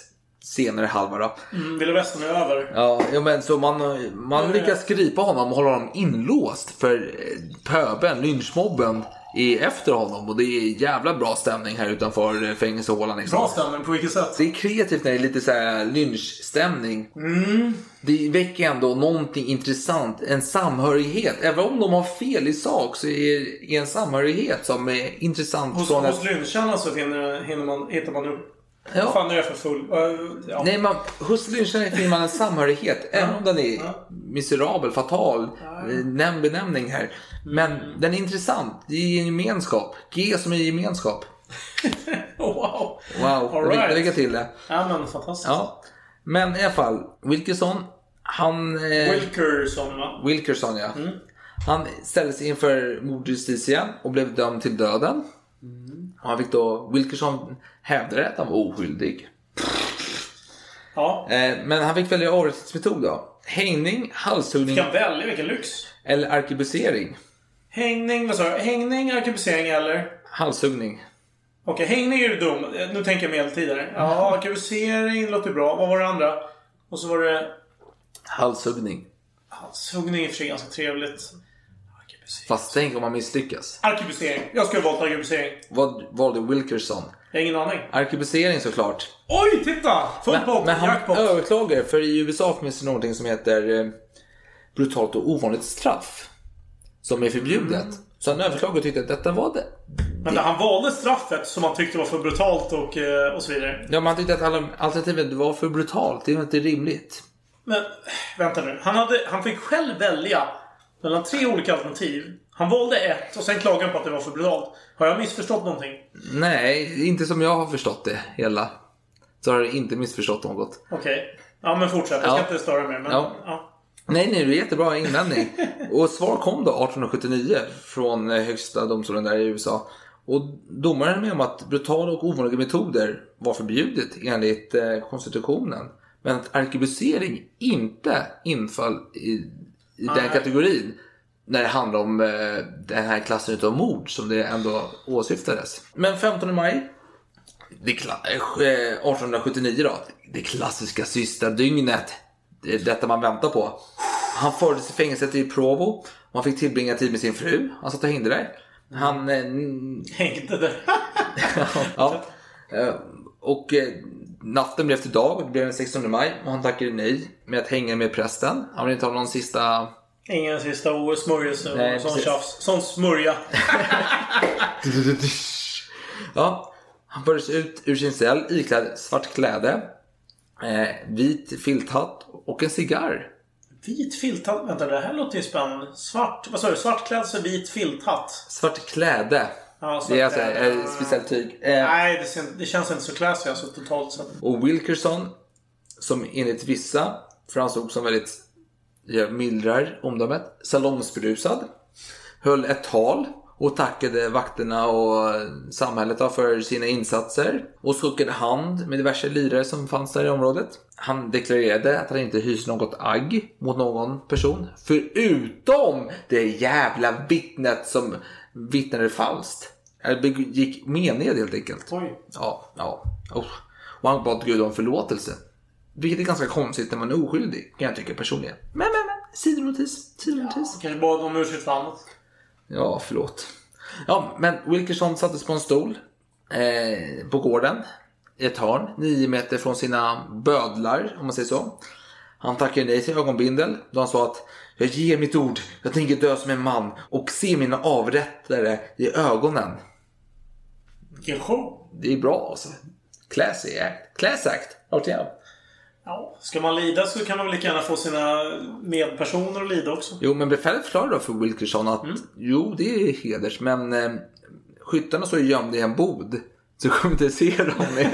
B: senare halva då.
A: Mm, Vilda västern är över.
B: Ja, ja, men så man,
A: Eh.
B: man lyckas gripa honom och hålla honom inlåst för eh, pöbeln, lynchmobben, är efter honom och det är jävla bra stämning här utanför eh, fängelsehålan. Liksom.
A: Bra stämning, på vilket sätt?
B: Det är kreativt när det är lite så här lynchstämning.
A: Mm.
B: Det väcker ändå någonting intressant, en samhörighet. Även om de har fel i sak så är det en samhörighet som är intressant.
A: Hos,
B: från
A: hos
B: att-
A: lyncharna så hinner, hinner man, hittar man upp.
B: Ja.
A: Vad fan nu är jag för full? Eh, ja.
B: Nej, man, hos lyncharna finner man en samhörighet. även om den är
A: ja.
B: miserabel, fatal, eh, nämnd benämning här.
A: Mm.
B: Men den är intressant. Det är en gemenskap. G som är gemenskap.
A: Wow!
B: Wow,
A: All
B: jag fick
A: right.
B: lägga till det.
A: Ja men fantastiskt.
B: Ja. Men i alla fall, Wilkerson, han... eh,
A: Wilkerson va?
B: Wilkerson ja.
A: Mm.
B: Han ställdes inför mordjustitien och blev dömd till döden.
A: Mm.
B: Och Han fick då, Wilkerson hävdade att han var oskyldig.
A: Ja.
B: Eh, men han fick välja avrättningsmetod då. Hängning, halshuggning
A: Vilken välja, vilken lyx!
B: eller arkebusering.
A: Hängning, vad sa du? Hängning, arkebusering eller?
B: Halshuggning.
A: Okej, hängning är ju dum. Eh, Nu tänker jag medeltidare. Ja, arkebusering låter bra. Vad var det andra? Och så var det...
B: Halshuggning.
A: Halshuggning är i och för sig ganska trevligt. Arkebusering.
B: Fast tänk om han misslyckas.
A: Arkebusering. Jag skulle ha valt arkebusering.
B: Vad valde Wilkerson?
A: Jag har ingen aning.
B: Arkebusering såklart.
A: Oj, titta! Full pott,
B: men han
A: jackpot.
B: överklagar för i USA finns det någonting som heter eh, brutalt och ovanligt straff. Som är förbjudet. Så han överklagade och tyckte att detta var det.
A: Men han valde straffet som han tyckte var för brutalt och, eh, och så vidare.
B: Ja, men han tyckte att alla- alternativet var för brutalt. Det var inte rimligt.
A: Men vänta nu. Han, hade, han fick själv välja mellan tre olika alternativ. Han valde ett och sen klagade han på att det var för brutalt. Har jag missförstått någonting?
B: Nej, inte som jag har förstått det hela. Så har jag inte missförstått något.
A: Okej. Ja, men fortsätt. Jag ska
B: Ja.
A: inte störa mer. Men,
B: Ja.
A: ja.
B: Nej, nej, det är jättebra invändning. Och svar kom då 1879 från eh, högsta domstolen där i USA. Och domaren är med om att brutala och ovanliga metoder var förbjudet enligt eh, konstitutionen. Men att arkebusering inte inföll i, i den kategorin när det handlar om eh, den här klassen utav mord som det ändå åsyftades. Men 15 maj det kla- eh, 1879 då. Det klassiska sista dygnet. Det är detta man väntar på. Han fördes till fängelset i Provo. Och han fick tillbringa tid med sin fru. Han satt och hängde där. Han... eh, n-
A: Hängde där.
B: ja. Eh, Och eh, natten blev till dag. Det blev den 16 maj. Och han tackade nej med att hänga med prästen. Han ville inte ha någon sista...
A: Ingen sista OS-smörjelse
B: Nej,
A: och sån
B: precis.
A: tjafs. Sån smörja.
B: Ja, han fördes ut ur sin cell iklädd svart kläde. Eh, vit filthatt och en cigarr.
A: Vit filthatt. Vänta, det här låter ju spännande. Svart, vad sa du? Svart klädsel, vit filthatt.
B: Svart kläde.
A: Ja, svart
B: det är alltså
A: kläde.
B: ett speciellt tyg. Eh,
A: Nej, det, ser, det känns inte så classy alltså totalt sett.
B: och Wilkerson, som enligt vissa framstod som väldigt, jag mildrar omdömet, salongsberusad. Höll ett tal och tackade vakterna och samhället då för sina insatser. Och skakade hand med diverse lirare som fanns där i området. Han deklarerade att han inte hyser något agg mot någon person. Förutom det jävla vittnet som vittnade falskt. Eller begick mened helt enkelt.
A: Oj.
B: Oh. Ja, ja. Usch. Och han bad Gud om förlåtelse. Vilket är ganska konstigt när man är oskyldig, kan jag tycka personligen. Men, men, men. Sidonotis. Sidonotis.
A: Kanske bad om ursäkt för annat.
B: Ja, förlåt. Ja, men Wilkerson sattes på en stol eh, på gården i ett hörn, nio meter från sina bödlar, om man säger så. Han tackade nej till ögonbindel då han sa att jag ger mitt ord, jag tänker dö som en man och se mina avrättare i ögonen.
A: Vilken show!
B: Det är bra alltså. Classy act. Class act, rakt igenom.
A: Ja. Ska man lida så kan man väl lika gärna få sina medpersoner att lida också.
B: Jo, men befälet förklarade då för Wilkerson att jo, det är heders, men eh, skyttarna står ju gömda i en bod. Så du kommer inte se dem.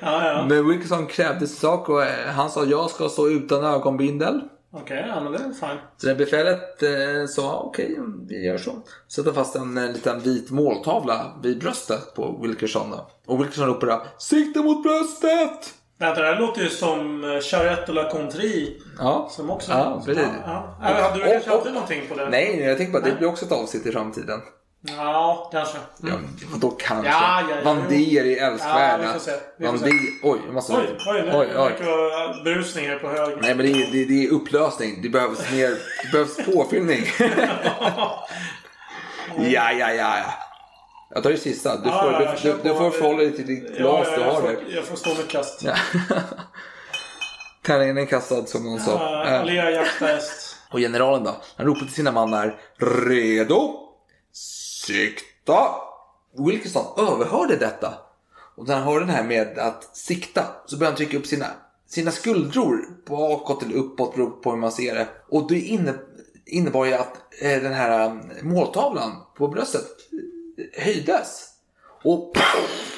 A: Ja, ja.
B: men Wilkerson krävde sin sak och eh, han sa jag ska stå utan ögonbindel.
A: Okej, ja, men det är fine.
B: Så när befälet eh, sa okej, vi gör så. Sätter fast en eh, liten vit måltavla vid bröstet på Wilkerson. Då. Och Wilkerson ropar då, sikta mot bröstet!
A: Vänta, det här låter ju som eh, Charette och la Contrie.
B: Ja,
A: Som också...
B: Ja, precis.
A: Ja, ja. Äh, Hade du
B: Och-
A: kanske
B: och-
A: alltid någonting på det?
B: Nej, nej, jag tänker bara att det blir också ett avsnitt i framtiden.
A: Ja, kanske.
B: Ja, då kanske?
A: Mm. Ja, ja, ja.
B: Vander är älskvärda.
A: Ja, vi får se. Vi får
B: Van
A: se.
B: Dier- oj, jag måste...
A: Oj, oj, nu
B: oj, oj.
A: verkar det vara brusning här på höger.
B: Nej, men det är, det, det är upplösning. Det behövs mer... Det behövs påfyllning. ja, ja, ja, ja. Jag tar det sista. Du
A: Ja,
B: får,
A: Ah, ja, ja,
B: du,
A: kör
B: du, du
A: på.
B: får förhålla dig till ditt glas
A: Ja, ja,
B: du
A: jag
B: har
A: får-
B: där.
A: Jag får stå med kast.
B: Ja. Tärningen är kastad som någon sa.
A: Uh,
B: Eh,
A: Alea jakta häst.
B: Och generalen då? Han ropar till sina mannar. Redo! Sikta! Wilkinson överhörde detta. Och när han hörde den här med att sikta så började han trycka upp sina, sina skuldror bakåt eller uppåt beroende på hur man ser det. Och det inne, innebar ju att eh, den här eh, måltavlan på bröstet eh, höjdes. Och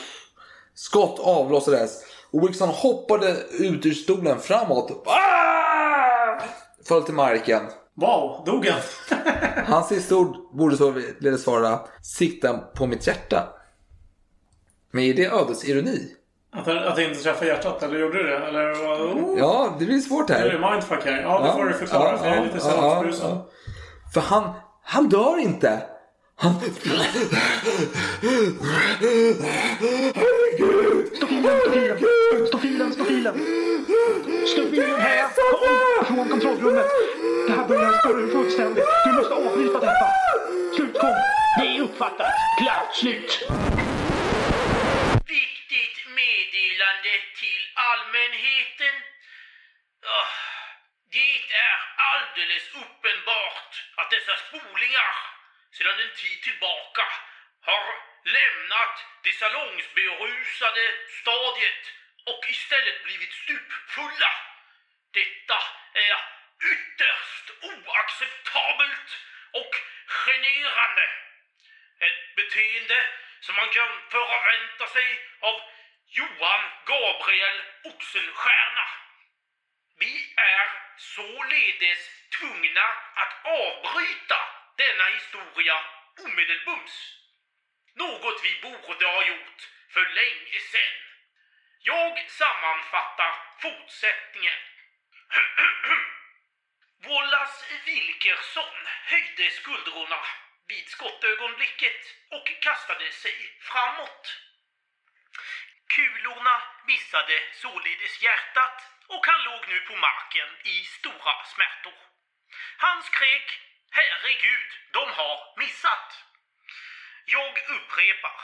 B: skott avlossades. Och Wilkinson hoppade ut ur stolen framåt. Ah! Föll till marken.
A: Wow, dog han?
B: Hans sista ord borde således vara sikta på mitt hjärta. Men är det ödets ironi?
A: att, han- att det inte träffade hjärtat, eller gjorde det? Eller vad? Oh,
B: Ja, det blir svårt
A: Det är
B: här.
A: ju mindfuck här. Ja, det får du förklara. för jag är lite salladsbrusen.
B: För han, han dör inte. Han...
J: Stofilen, stofilen! Stofilen här! Kom från kontrollrummet! Det här börjar spåra ur fullständigt. Du måste avbryta detta! Slut, kom!
D: Det är uppfattat. Klart slut. Viktigt meddelande till allmänheten. Ah, Det är alldeles uppenbart att dessa spolingar sedan en tid tillbaka har lämnat det salongsberusade stadiet och istället blivit stupfulla. Detta är ytterst oacceptabelt och generande. Ett beteende som man kan förvänta sig av Johan Gabriel Oxenstierna. Vi är således tvungna att avbryta denna historia omedelbums. Något vi borde ha gjort för länge sedan. Jag sammanfattar fortsättningen. Wallace Wilkerson höjde skuldrorna vid skottögonblicket och kastade sig framåt. Kulorna missade således hjärtat och han låg nu på marken i stora smärtor. Han skrek ”Herregud, de har missat!” Jag upprepar.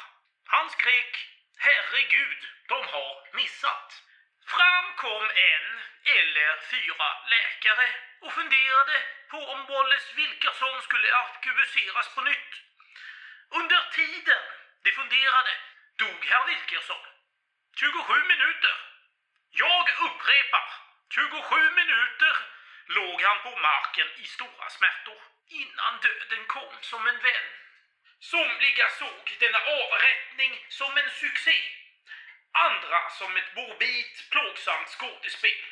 D: Han skrek ”Herregud, de har missat!” Fram kom en eller fyra läkare och funderade på om Wallace Wilkerson skulle arkubuseras på nytt. Under tiden de funderade dog herr Wilkerson. 27 minuter. Jag upprepar. 27 minuter låg han på marken i stora smärtor innan döden kom som en vän. Somliga såg denna avrättning som en succé. Andra som ett morbid, plågsamt skådespel.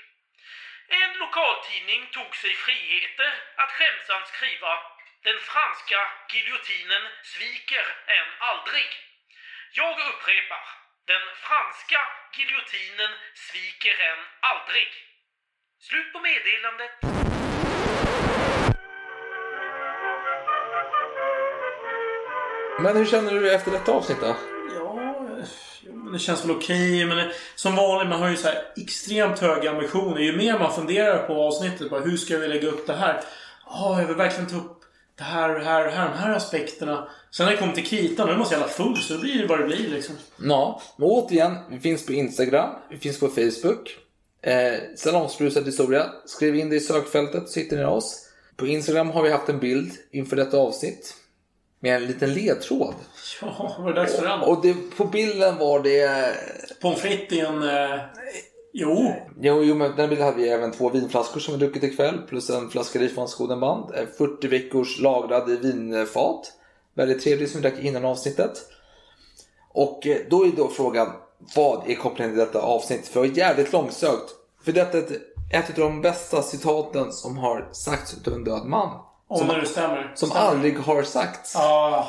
D: En lokaltidning tog sig friheter att skämtsamt skriva “Den franska giljotinen sviker än aldrig”. Jag upprepar. Den franska giljotinen sviker än aldrig. Slut på meddelandet.
B: Men hur känner du efter detta avsnitt då?
A: Ja, jo, men det känns väl okej. men det, som vanligt, man har ju så här extremt höga ambitioner. Ju mer man funderar på avsnittet, bara, hur ska vi lägga upp det här? Ja, jag vill verkligen ta upp det här och det här och det här, de här aspekterna. Sen när det kommer till kritan, då måste jag alla full, så det blir det vad det blir liksom.
B: Ja, men återigen, vi finns på Instagram, vi finns på Facebook. Eh, Salongsbrusad historia. Skriv in det i sökfältet så hittar ni oss. På Instagram har vi haft en bild inför detta avsnitt. Med en liten ledtråd.
A: Ja, var det dags för den?
B: Och det, på bilden var det...
A: Pommes frites i en... Eh, jo.
B: Jo, jo, men på den bilden hade vi även två vinflaskor som vi druckit ikväll. Plus en flaska Rifans Godenband. 40 veckors lagrad i vinfat. Väldigt trevlig som vi drack innan avsnittet. Och eh, då är då frågan, vad är kopplingen till detta avsnitt? För det var jävligt långsökt. För detta är ett, ett av de bästa citaten som har sagts utav en död man.
A: Om
B: Som-
A: det nu stämmer.
B: Som
A: stämmer.
B: aldrig har sagts.
A: Ah,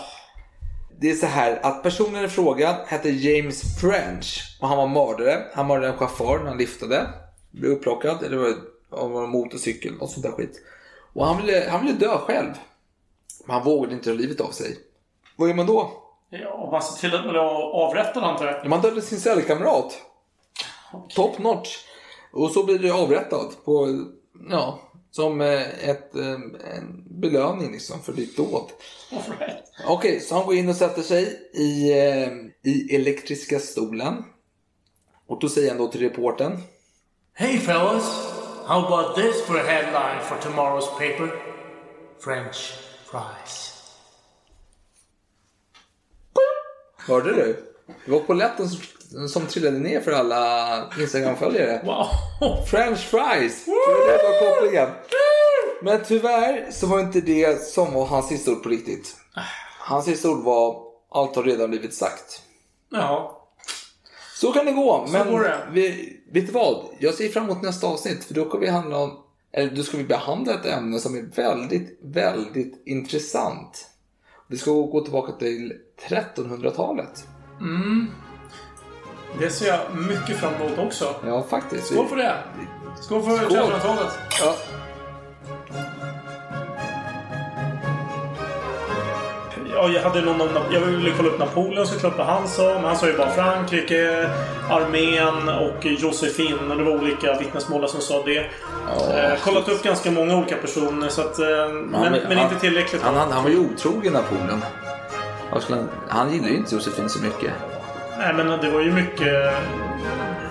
B: Det är så här att personen i fråga hette James French och han var mördare. Han mördade en chaufför när han liftade. Blev upplockad, eller var det av en motorcykel, något sånt där skit. Och han ville, han ville dö själv. Men han vågade inte ta livet av sig. Vad gör man då?
A: ja, man ser till att man avrättar antar jag.
B: Ja, Man dödade sin cellkamrat. Top notch. Och så blir du avrättad på, ja, som eh, ett, eh, en belöning liksom för ditt dåd.
A: All right.
B: Okej, så han går in och sätter sig i, eh, i elektriska stolen. Och då säger han då till reportern.
D: Hey, fellas. How about this for a headline for tomorrow's paper? French fries.
B: Hörde du? Det var polletten som, som trillade ner för alla Instagram-följare.
A: Wow.
B: French fries! Det var det som var kopplingen. Men tyvärr så var inte det som var hans sista ord på riktigt. Hans sista ord var allt har redan blivit sagt.
A: Ja.
B: Så kan det gå. Men
A: går det.
B: Vi, vet du vad? Jag ser fram emot nästa avsnitt. För då kommer vi handla om, eller då ska vi behandla ett ämne som är väldigt, väldigt intressant. Vi ska gå tillbaka till 1300-talet.
A: Det ser jag mycket fram emot också.
B: Ja, faktiskt. Vi-
A: Skål för det! Skål för
B: Skål.
A: 1300-talet!
B: Ja.
A: Ja, jag, hade någon, om- jag ville kolla upp Napoleon såklart vad han sa. Men han sa ju bara Frankrike, armén och Josefin. Och det var olika vittnesmål som sa det. eh, kollat upp ganska många olika personer. Så att, eh, men men, inte tillräckligt.
B: Han, han, han var ju otrogen Napoleon. Vad skulle Han, han gillar ju inte Josefin så mycket.
A: Nej, men det var ju mycket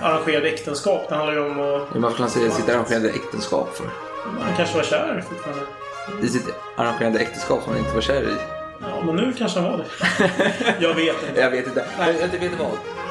A: arrangerade äktenskap. Det handlar ju om att
B: Men Vad skulle han säga i sitt arrangerade äktenskap för?
A: han kanske var kär fortfarande.
B: I sitt arrangerade äktenskap som han inte var kär i.
A: Ja, men nu kanske han var det. jag vet inte.
B: Jag vet inte. Jag vet inte vad.